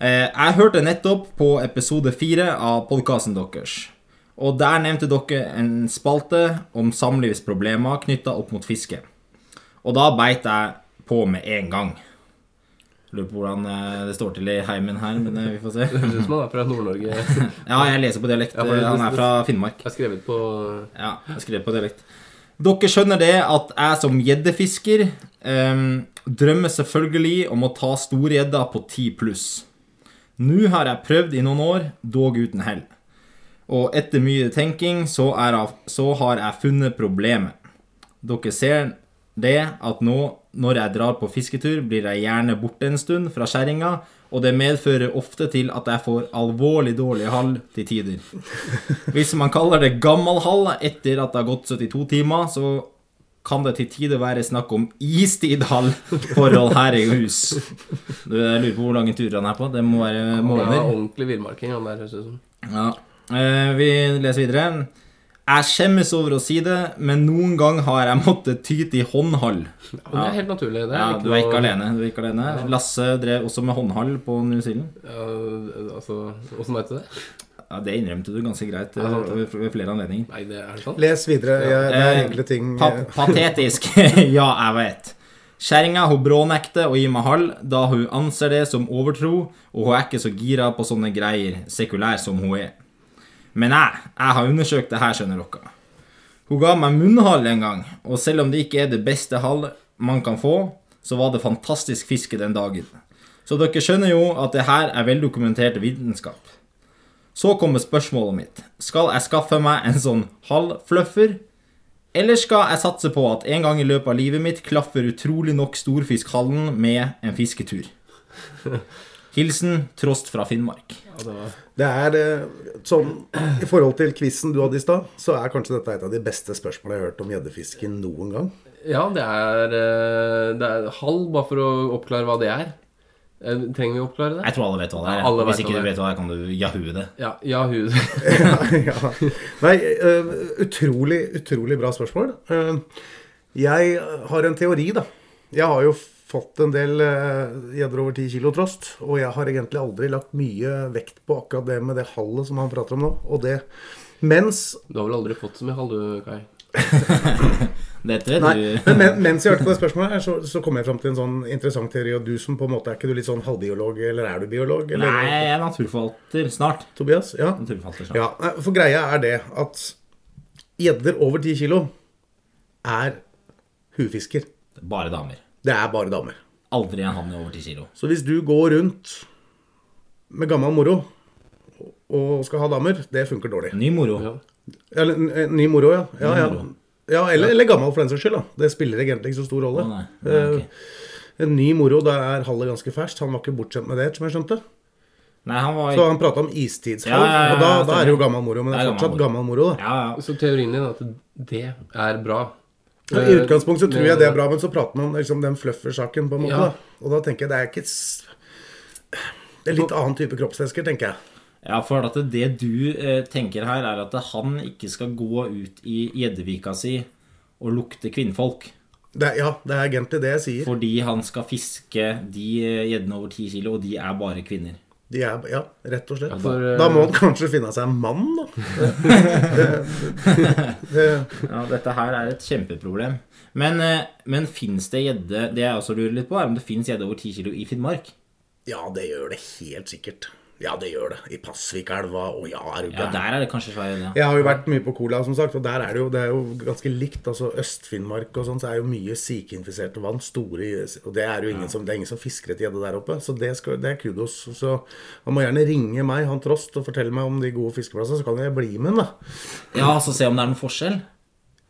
Speaker 5: Eh, jeg hørte nettopp på episode fire av podkasten deres. Og der nevnte dere en spalte om samlivsproblemer knytta opp mot fiske. Og da beit jeg på med en gang. Lurer på hvordan eh, det står til i heimen her, men eh, vi får se.
Speaker 1: Høres ut som han er fra Nord-Norge. Jeg
Speaker 5: Ja, jeg leser på dialekt. eh,
Speaker 1: Ja, for det-
Speaker 5: Han er fra Finnmark.
Speaker 1: har skrevet på
Speaker 5: Ja, jeg skrev på dialekt. Dere skjønner det at jeg som gjeddefisker ehm, drømmer selvfølgelig om å ta storgjedda på 10 pluss. Nå har jeg prøvd i noen år, dog uten hell. Og etter mye tenking så, er jeg, så har jeg funnet problemet. Dere ser det at nå når jeg drar på fisketur, blir jeg gjerne borte en stund fra skjæringa, og det medfører ofte til at jeg får alvorlig dårlig hall til tider. Hvis man kaller det gammel hall etter at det har gått 72 timer, så kan det til tider være snakk om istidhall-forhold her i hus. Du, jeg lurer på hvor lange turer han er på. Det må være
Speaker 1: Han er
Speaker 5: måneder.
Speaker 1: ordentlig villmarking, han der, høres det ut som.
Speaker 5: Ja. Eh, Vi leser videre. Jeg skjemmes over å si det, men noen gang har jeg måttet ty til håndhall.
Speaker 1: Ja, men det er helt naturlig. Det er
Speaker 5: Ja, du er
Speaker 1: noe-
Speaker 5: ikke alene. Du er ikke alene. Lasse drev også med håndhall på New Zealand.
Speaker 1: Ja, altså, Åssen veit du det?
Speaker 5: Ja, det innrømte du ganske greit eh, ved flere anledninger.
Speaker 1: Nei, det er sant.
Speaker 6: Les videre. Jeg, det er
Speaker 5: Eh,
Speaker 6: enkle ting.
Speaker 5: Pa patetisk. ja, jeg vet. Kjerringa hun brånekter å gi meg halv, da hun anser det som overtro, og hun er ikke så gira på sånne greier, sekulær som hun er. Men jeg, jeg har undersøkt det her, skjønner dere. Hun ga meg munnhall en gang, og selv om det ikke er det beste hall man kan få, så var det fantastisk fiske den dagen. Så dere skjønner jo at det her er veldokumentert vitenskap. Så kommer spørsmålet mitt. Skal jeg skaffe meg en sånn halvfluffer, eller skal jeg satse på at en gang i løpet av livet mitt klaffer utrolig nok storfiskhallen med en fisketur? Hilsen Trost fra Finnmark.
Speaker 6: Det er eh, sånn I forhold til quizen du hadde i stad, så er kanskje dette et av de beste spørsmålene jeg har hørt om gjeddefisken noen gang.
Speaker 1: Ja, det er, eh, det er halv, bare for å oppklare hva det er. Eh, Trenger vi å oppklare det?
Speaker 5: Jeg tror alle vet hva det er.
Speaker 1: Ja, alle
Speaker 5: Hvis
Speaker 1: vet
Speaker 5: ikke
Speaker 1: hva
Speaker 5: du
Speaker 1: det er.
Speaker 5: vet hva det er, kan du yahoo det.
Speaker 1: Ja, ja hun
Speaker 6: ja. Nei, eh, utrolig, utrolig bra spørsmål. Eh, jeg har en teori, da. Jeg har jo fått en del eh, gjedder over 10 kilo trost, og jeg har egentlig aldri lagt mye vekt på akkurat det med det hallet som han prater om nå. Og det mens
Speaker 1: Du har vel aldri fått så mye hall, du, Kai?
Speaker 5: Dette du
Speaker 6: Nei, men, men mens jeg hørte på det spørsmålet, her, så, så kom jeg fram til en sånn interessant teori. Og du som på en måte er ikke du litt sånn halvbiolog, eller er du biolog? Eller,
Speaker 5: Nei, jeg er naturforvalter snart.
Speaker 6: Tobias? Ja.
Speaker 5: Naturforvalter snart.
Speaker 6: ja. nei, For greia er det at gjedder over 10 kilo er hufisker.
Speaker 5: Bare damer.
Speaker 6: Det er bare damer.
Speaker 5: Aldri en hann i over 10 kilo.
Speaker 6: Så hvis du går rundt med gammel moro og skal ha damer, det funker dårlig.
Speaker 5: Ny moro.
Speaker 6: Eller n- eh, ny moro, ja. ja, ja. ja eller, eller gammel, for den saks skyld. da. Det spiller egentlig ikke så stor rolle.
Speaker 5: Å, nei.
Speaker 1: Eh,
Speaker 5: Nei, ok.
Speaker 6: En ny moro, da er hallet ganske ferskt. Han var ikke bortskjemt med det, som jeg skjønte.
Speaker 5: nei, han var
Speaker 6: Så han prata om istidshall,
Speaker 5: Ja, ja, ja,
Speaker 6: og da, da
Speaker 5: stemmer.
Speaker 6: er det jo gammel moro. Men det
Speaker 5: Det
Speaker 6: er
Speaker 5: er
Speaker 6: fortsatt gammel moro, da.
Speaker 5: Ja, ja.
Speaker 1: Så teorien din er at det er bra.
Speaker 6: I utgangspunktet så tror jeg det er bra, men så prater man om liksom, den fluffer-saken, på en måte.
Speaker 1: Ja.
Speaker 6: Da. Og da tenker jeg det er ikke s- Det er litt annen type kroppsvæsker, tenker jeg.
Speaker 5: Ja, for at det du eh, tenker her, er at han ikke skal gå ut i gjeddevika si og lukte kvinnfolk.
Speaker 6: Det, er- ja, det er egentlig det jeg sier.
Speaker 5: Fordi han skal fiske de eh, gjeddene over 10 kilo, og de er bare kvinner.
Speaker 6: De er, ja, rett og slett.
Speaker 1: for, eh,
Speaker 6: da må han kanskje finne seg en mann, da. det, det, det,
Speaker 5: Ja, dette her er et kjempeproblem. Men, eh, men fins det gjedde Det jeg også lurer litt på, er om det fins gjedde over 10 kilo i Finnmark.
Speaker 6: ja, det gjør det helt sikkert. Ja, det gjør det. I Pasvikelva, og ja, er du
Speaker 5: Ja,
Speaker 6: gæren.
Speaker 5: der er det kanskje svær gjedde. ja.
Speaker 6: Jeg har jo vært mye på Kola, som sagt, og der er det jo, det er jo ganske likt. altså Øst-Finnmark og sånn, så er jo mye sikeinfiserte vann. store, og Det er jo ingen som, det er ingen som fisker etter gjedde der oppe, så det, skal, det er kudos. Så Han må gjerne ringe meg, han Trost, og fortelle meg om de gode fiskeplassene, så kan jeg bli med, da.
Speaker 5: Ja, så se om det er noen forskjell.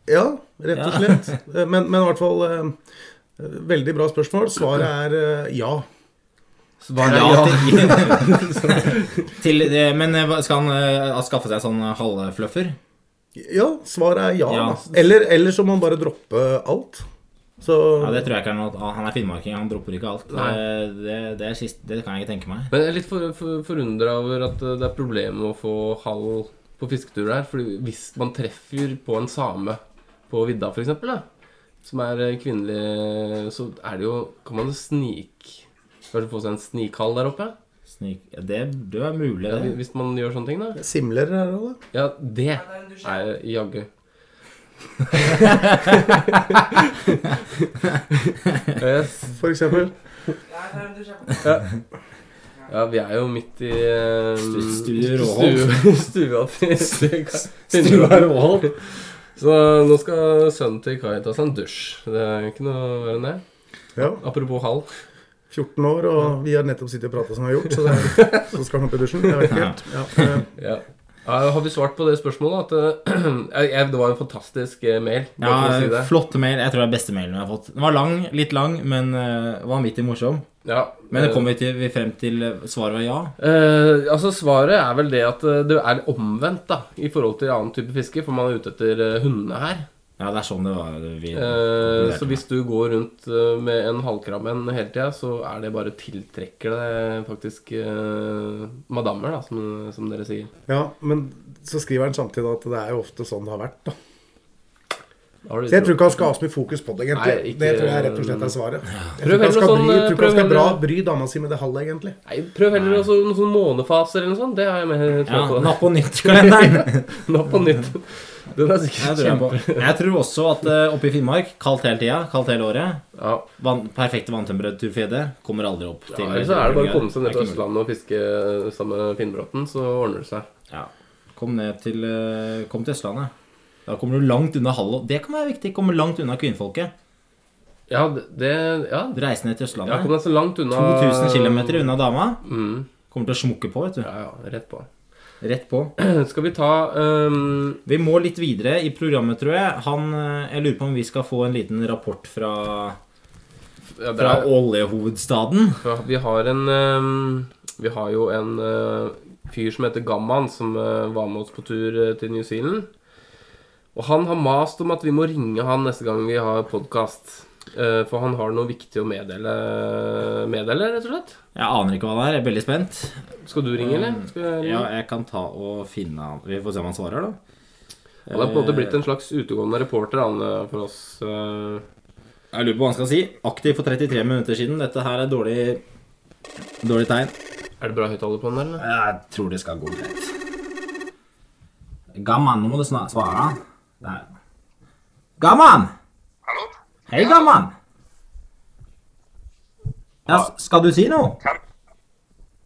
Speaker 6: Ja, rett og
Speaker 5: Ja.
Speaker 6: slett. Men, men i hvert fall eh, Veldig bra spørsmål. Svaret er eh, ja.
Speaker 1: Svaret er
Speaker 5: Ja,
Speaker 1: ja.
Speaker 5: til- til, det- men eh, hva- skal han eh, skaffe seg sånn halvfluffer?
Speaker 6: Ja, svaret er ja.
Speaker 5: Ja.
Speaker 6: da. Eller, eller så må han bare droppe alt. Så
Speaker 5: Ja, det tror jeg ikke er noe ah, Han er finnmarking, han dropper ikke alt. Det, det, det, er sist, det kan jeg ikke tenke meg.
Speaker 1: Men jeg er litt for, for, forundra over at eh, det er problemer med å få hall på fisketurer her. Fordi hvis man treffer på en same på vidda, for eksempel, da, som er eh, kvinnelig, så er det jo Kan man jo snik... Kanskje få seg en snikhall der oppe?
Speaker 5: Snik, ja, det, det er mulig,
Speaker 1: Ja,
Speaker 5: det.
Speaker 1: Hvis man gjør sånne ting, da?
Speaker 6: Simler er det da?
Speaker 1: Ja, det er jaggu yes.
Speaker 6: For eksempel.
Speaker 1: Ja, vi er jo midt i um,
Speaker 5: Stu- Stue Råholt.
Speaker 1: Stua til til Kai. Råholt. Så nå skal sønnen til Kai ta seg en dusj. Det er ikke noe verre enn det.
Speaker 6: Ja.
Speaker 1: Apropos hall.
Speaker 6: 14 år, og vi har nettopp sittet og prata som vi har gjort. Så, det er, så skal han opp i dusjen. Jeg vet ikke helt. Ja, eh,
Speaker 1: Ja. Ja, har vi svart på det spørsmålet? At, eh, jeg- jeg, det var en fantastisk eh, mail.
Speaker 5: Ja,
Speaker 1: bare for å si det.
Speaker 5: Flott mail. Jeg tror det er beste mailen jeg har fått. Den var lang, litt lang, men uh, vanvittig morsom.
Speaker 1: ja.
Speaker 5: Men det
Speaker 1: eh,
Speaker 5: kom vi, til, vi frem til eh, svaret var ja.
Speaker 1: Eh, altså Svaret er vel det at eh, det er omvendt da i forhold til annen type fiske, for man er ute etter eh, hundene her.
Speaker 5: Ja, det er sånn det var. Vi,
Speaker 1: Eh, så hvis du går rundt eh, med en halvkrabbe en hele tida, så er det bare tiltrekker det faktisk eh, madammer, da, som, som dere sier.
Speaker 6: ja, men så skriver han samtidig at det er jo ofte sånn det har vært. Da.
Speaker 1: Da har du-
Speaker 6: Så jeg tror ikke han skal ha så mye fokus på det, egentlig.
Speaker 1: Nei, ikke-
Speaker 6: det tror jeg rett og slett er svaret. Jeg tror
Speaker 1: Prøv
Speaker 6: ikke han skal,
Speaker 1: heller sånn,
Speaker 6: bry, jeg tror ikke
Speaker 1: prøv
Speaker 6: han skal bra,
Speaker 1: heller-
Speaker 6: bry dama si med det halve, egentlig.
Speaker 1: Nei, prøv heller også noen sånne månefaser eller noe sånt. Det har jeg med
Speaker 5: ja,
Speaker 1: tro på.
Speaker 5: Napp og nytt-kalenderen.
Speaker 1: Nå på nytt. Den er sikkert
Speaker 5: Jeg,
Speaker 1: kjempe...
Speaker 5: jeg tror også at eh, oppe i Finnmark, kaldt hele tida, kaldt hele året
Speaker 1: Ja.
Speaker 5: vann, Perfekte vanntemperatur for gjedde kommer aldri opp. til-
Speaker 1: Eller så er det bare å komme seg ned
Speaker 5: Det er
Speaker 1: til
Speaker 5: ikke mulig.
Speaker 1: Østlandet og fiske eh, sammen med Finnbråten, så ordner det seg.
Speaker 5: Ja. Kom ned til, eh, kom til Østlandet. Da kommer du langt unna Hallo. Det kan være viktig. Komme langt unna kvinnfolket.
Speaker 1: Ja, det Ja,
Speaker 5: Reise ned til
Speaker 1: ja kom
Speaker 5: Østlandet.
Speaker 1: deg så langt unna
Speaker 5: 2000 km unna dama.
Speaker 1: Mm.
Speaker 5: Kommer til å smukke på, vet du.
Speaker 1: Ja, ja, rett på.
Speaker 5: Rett på.
Speaker 1: Skal vi ta ehm,
Speaker 5: Vi må litt videre i programmet, tror jeg. Han eh, Jeg lurer på om vi skal få en liten rapport fra
Speaker 1: ja, det
Speaker 5: Fra
Speaker 1: er,
Speaker 5: oljehovedstaden.
Speaker 1: fra- vi har en ehm, Vi har jo en eh, fyr som heter Gamman, som eh, var med oss på tur eh, til New Zealand. Og han har mast om at vi må ringe han neste gang vi har podkast. for han har noe viktig å meddele, meddele, rett og slett.
Speaker 5: Jeg aner ikke hva det er. Jeg er veldig spent.
Speaker 1: Skal du ringe, eller? Skal jeg ringe?
Speaker 5: Ja, jeg kan ta og finne han Vi får se om han svarer, da.
Speaker 1: Han er på en måte blitt en slags utegående reporter han, eh, for oss. eh.
Speaker 5: Jeg lurer på hva han skal si. Aktiv for 33 minutter siden. Dette her er dårlig Dårlig tegn.
Speaker 1: Er det bra høyttaler på den, eller?
Speaker 5: Jeg tror det skal gå greit. Gamman, nå må du snart svare. Der. Gamman!
Speaker 4: Hallo?
Speaker 5: Hei, gamman! Ja, skal du si noe?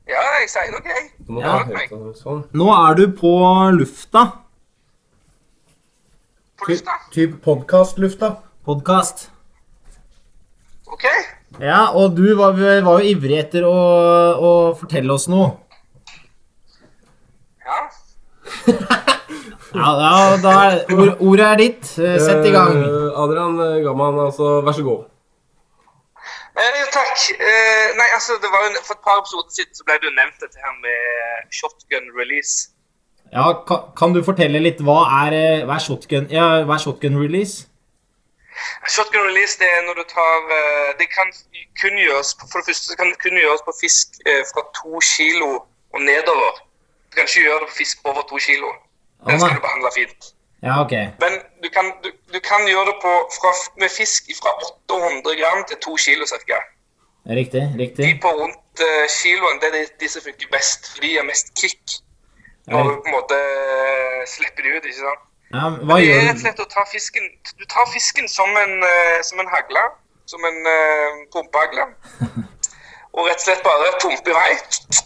Speaker 4: Ja, jeg sier noe, jeg.
Speaker 1: Du må
Speaker 5: Ja.
Speaker 1: ta høyttaler sånn.
Speaker 5: Nå er du på lufta.
Speaker 4: På lufta.
Speaker 6: Typ podkastlufta.
Speaker 5: Podkast.
Speaker 4: OK?
Speaker 5: Ja, og du var, var jo ivrig etter å, å fortelle oss noe.
Speaker 4: Ja.
Speaker 5: Ja, ja da er, or, ordet er ditt. Eh, Sett i gang.
Speaker 1: Eh, Adrian eh, Gamman, altså, vær så god.
Speaker 4: Eh, jo, takk. Eh, nei, altså, det var jo, For et par episoder siden så ble det jo nevnt dette her med shotgun release.
Speaker 5: Ja, kan, kan du fortelle litt hva er, eh, hva er shotgun ja, hva er shotgun release?
Speaker 4: Shotgun release det er når du tar eh, Det kan kun gjøres For det første så kan det kun gjøres på fisk eh, fra to kilo og nedover. Du kan ikke gjøre det på fisk over to kilo.
Speaker 5: nei.
Speaker 4: Den skal du behandle fint.
Speaker 5: Ja, ok.
Speaker 4: Men du kan, du, du kan gjøre det på, fra, med fisk fra 800 gram til 2 kilo ca.
Speaker 5: Riktig.
Speaker 4: De
Speaker 5: riktig.
Speaker 4: på rundt eh, kiloen det er de, de som funker best, for de gir mest kick. Når du på en måte eh, slipper de ut, ikke sant.
Speaker 5: Ja, hva
Speaker 4: Det er
Speaker 5: gjør
Speaker 4: rett og slett å ta fisken Du tar fisken som en, eh, som en hagle. Som en uh, pumpehagle. Og rett og slett bare pumpe i vei.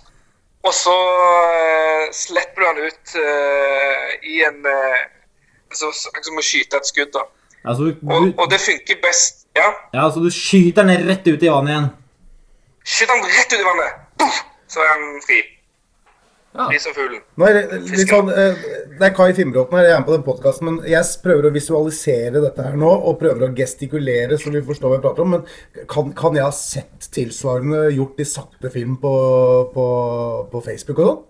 Speaker 4: Og så eh, slipper du den ut eh, i en eh, altså, Som å skyte et skudd, da.
Speaker 5: altså, du,
Speaker 4: Og, og
Speaker 5: du,
Speaker 4: det funker best. Ja.
Speaker 5: ja, så du skyter den rett ut i vannet igjen.
Speaker 4: Skyt han rett ut i vannet! Puff! Så er han fri. Fri som fuglen.
Speaker 6: Nå er det, litt sånn, eh, det er Kai Fimbråten her, jeg er med på den podkasten, men jeg s- prøver å visualisere dette her nå, og prøver å gestikulere så vi forstår hva vi prater om, men kan, kan jeg ha sett tilsvarende gjort i sakte film på, på, på Facebook og sånn?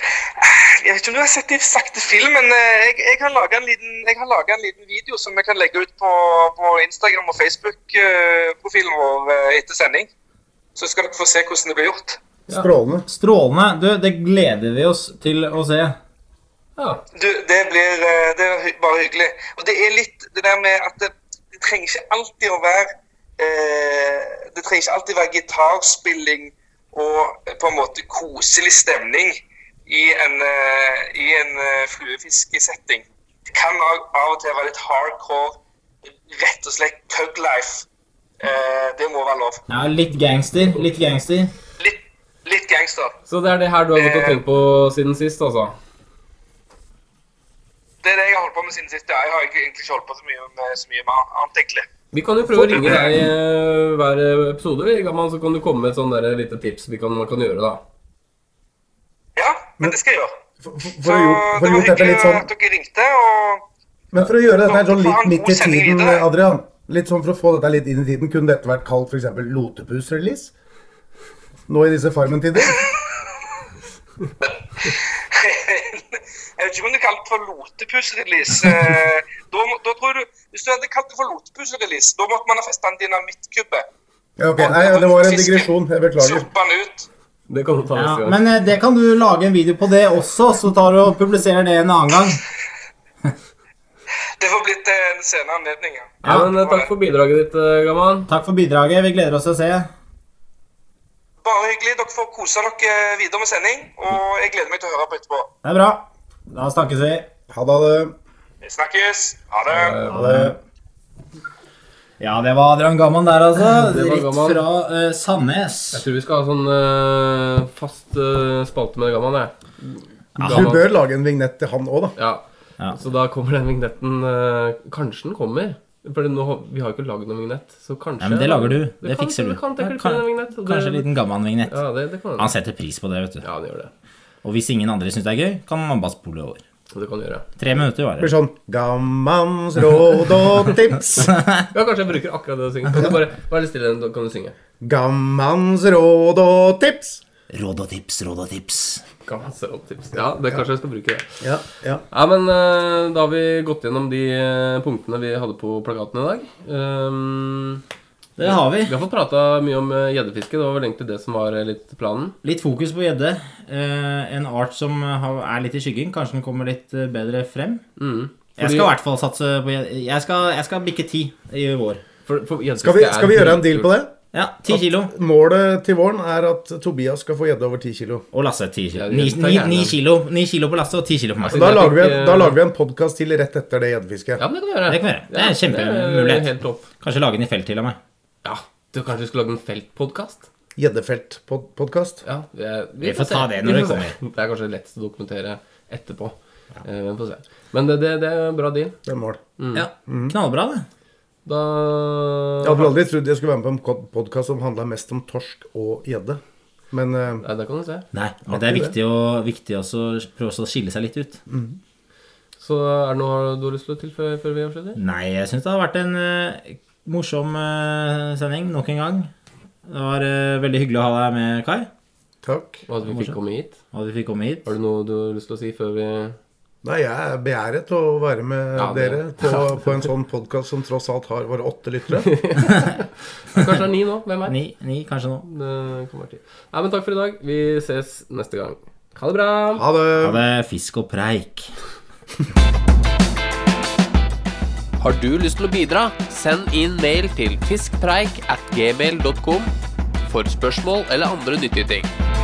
Speaker 4: Jeg vet ikke om du har sett de sakte film, men eh, jeg, jeg har laga en, liten- jeg har laget en liten video som jeg kan legge ut på, på Instagram og Facebook-profilen vår eh, etter sending. Så skal dere få se hvordan det blir gjort.
Speaker 6: Strålende.
Speaker 5: Strålende. Du, det gleder vi oss til å se.
Speaker 4: Du, det blir eh, det er hy- bare hyggelig. Og det er litt det der med at det, det trenger ikke alltid å være eh, Det trenger ikke alltid være gitarspilling og eh, på en måte koselig stemning i en, eh, i en eh, fluefiskesetting. Det kan av, av og til være litt hardcore, rett og slett puglife. Eh, det må være lov.
Speaker 5: Ja, litt gangster. Litt gangster.
Speaker 4: Litt, litt gangster.
Speaker 1: Så det er det her du har gått og tenkt på siden sist, altså?
Speaker 4: Det er det jeg har holdt på med siden sist. Ja, Jeg har ikke- egentlig ikke holdt på så mye med så mye med annet, egentlig.
Speaker 1: Vi kan jo prøve å ringe deg eh, hver episode, vi, Gamman, så kan du komme med et sånn der lite tips vi kan, man kan gjøre, da.
Speaker 4: Ja, men det skal jeg gjøre.
Speaker 6: For, for,
Speaker 4: Så
Speaker 6: for å gjort- for å
Speaker 4: det var
Speaker 6: gjort dette
Speaker 4: hyggelig
Speaker 6: litt sånn
Speaker 4: at dere ringte, og
Speaker 6: Men for å gjøre dette her sånn
Speaker 4: Nå får
Speaker 6: litt
Speaker 4: han
Speaker 6: midt i
Speaker 4: god sending
Speaker 6: tiden,
Speaker 4: videre.
Speaker 6: Adrian Litt sånn for å få dette litt inn i tiden, kunne dette vært kalt f.eks. Lotepus-release? Nå i disse Farmen-tider?
Speaker 4: jeg vet ikke om du kalte det for lotepus-release. Eh, Da, må- da tror du, Hvis du hadde kalt det for lotepus-release, da måtte man ha festet en dynamittgubbe.
Speaker 6: Ja, ok. Nei, det var en digresjon. Jeg beklager.
Speaker 4: Sluppet den ut.
Speaker 1: Det kan du ta
Speaker 5: Ja,
Speaker 1: neste gang.
Speaker 5: men eh, det kan du lage en video på det også, så tar du og publiserer det en annen gang.
Speaker 4: Det får bli til en senere anledning. ja.
Speaker 1: Ja, men eh, Takk for bidraget ditt, eh, Gamman.
Speaker 5: Takk for bidraget. Vi gleder oss til å se.
Speaker 4: Bare hyggelig. Dere får kose dere videre med sending, og jeg gleder meg til å høre på etterpå.
Speaker 5: Det er bra. Da snakkes vi.
Speaker 6: Ha det.
Speaker 4: Vi Snakkes. Ha det.
Speaker 6: Ha det.
Speaker 5: Ja, det var Adrian Gamman der, altså.
Speaker 1: Det var
Speaker 5: Rett
Speaker 1: Gamman.
Speaker 5: fra eh, Sandnes.
Speaker 1: Jeg tror vi skal ha sånn eh, fast eh, spalte med Gamman, jeg.
Speaker 6: Du
Speaker 1: Gamman.
Speaker 6: bør lage en vignett til han òg, da.
Speaker 1: Ja.
Speaker 5: Ja.
Speaker 1: Så da kommer den vignetten eh, Kanskje den kommer. For nå, har- vi har jo ikke lagd noen vignett, så kanskje
Speaker 5: Ja, men det lager du. Det,
Speaker 1: kan-
Speaker 5: fikser du.
Speaker 1: Det kan tenke
Speaker 5: Ja, kan-
Speaker 1: en vignett. og
Speaker 5: Kanskje en
Speaker 1: det,
Speaker 5: liten Gamman-vignett.
Speaker 1: Ja, det, det kan
Speaker 5: Han setter pris på det, vet du.
Speaker 1: Ja, det gjør det.
Speaker 5: Og hvis ingen andre syns det er gøy, kan man bare spole over.
Speaker 1: Så det kan du gjøre.
Speaker 5: Tre minutter
Speaker 6: Det blir
Speaker 5: varer.
Speaker 6: sånn Gammans råd og tips.
Speaker 1: Ja, kanskje jeg bruker akkurat det å synge. Kan du bare Vær litt stille, da kan du synge.
Speaker 6: Gammans råd og tips.
Speaker 5: Råd og tips, råd og tips.
Speaker 1: Kan man se opp tips? Ja, det kanskje jeg skal bruke det.
Speaker 6: Ja, ja.
Speaker 1: Ja, men eh, da har vi gått gjennom de eh, punktene vi hadde på plakaten i dag. Ehm,
Speaker 5: Det har vi.
Speaker 1: vi har fått prata mye om eh, gjeddefiske. Det var vel egentlig det som var eh, litt planen.
Speaker 5: Litt fokus på gjedde. Eh, en art som har, er litt i skyggen. Kanskje den kommer litt eh, bedre frem.
Speaker 1: Mm.
Speaker 5: Jeg skal i hvert fall satse på gjedde. Jeg skal, jeg skal bikke ti i vår.
Speaker 1: For, for
Speaker 6: Skal, vi, skal vi gjøre en deal på det?
Speaker 5: Ja, ti kilo.
Speaker 6: Målet til våren er at Tobias skal få gjedde over 10 kilo.
Speaker 5: Og Lasse ti
Speaker 1: Ja,
Speaker 5: kilo.
Speaker 1: du
Speaker 5: Ni,
Speaker 1: tar
Speaker 5: ni,
Speaker 1: gjerne.
Speaker 5: ni kilo. Ni kilo på Lasse og ti kilo på meg.
Speaker 6: Da
Speaker 1: Jeg
Speaker 6: lager vi en,
Speaker 1: tenker-
Speaker 6: da lager vi en podkast til rett etter det gjeddefisket.
Speaker 1: Ja, men det kan vi gjøre.
Speaker 5: Det kan vi gjøre. Det er en kjempemulighet.
Speaker 1: det er Helt topp.
Speaker 5: Kanskje lage den i felt til av meg.
Speaker 1: Ja, du kanskje vi skulle lage en feltpodkast?
Speaker 6: Gjeddefeltpodkast.
Speaker 1: Ja, vi,
Speaker 5: Vi får ta det når
Speaker 1: Vi
Speaker 5: det
Speaker 1: får se. Det er kanskje lettest å dokumentere etterpå. Eh, Vi får se. Men det, det, det er en bra deal.
Speaker 6: Det er mål.
Speaker 5: Ja, Knallbra, det.
Speaker 1: Da
Speaker 6: Jeg hadde vel aldri trodd jeg skulle være med på en podkast som handla mest om torsk og gjedde. Men eh,
Speaker 1: Nei, det kan du se.
Speaker 5: Nei, og det er viktig å, viktig også å prøve også å skille seg litt ut.
Speaker 1: Så er det noe du har lyst til å tilføye før vi avslutter?
Speaker 5: Nei, jeg syns det har vært en eh, morsom eh, sending nok en gang. Det var eh, veldig hyggelig å ha deg med, Kai.
Speaker 6: takk.
Speaker 1: Og at vi fikk komme hit?
Speaker 5: Og at vi fikk komme hit.
Speaker 1: Har du noe du har lyst til å si før vi
Speaker 6: Nei, jeg er beæret å være med
Speaker 1: Ja, det-
Speaker 6: dere på, på en sånn podkast som tross alt har våre åtte lyttere.
Speaker 1: Kanskje det er ni nå? Hvem er det?
Speaker 5: Ni, ni kanskje nå.
Speaker 1: kan være ti. Nei, men takk for i dag. Vi ses neste gang. Ha det bra.
Speaker 6: Ha det!
Speaker 5: Ha det fisk og preik.
Speaker 8: Har du lyst til å bidra? Send inn mail til fiskpreik at gmail.com for spørsmål eller andre nyttige ting.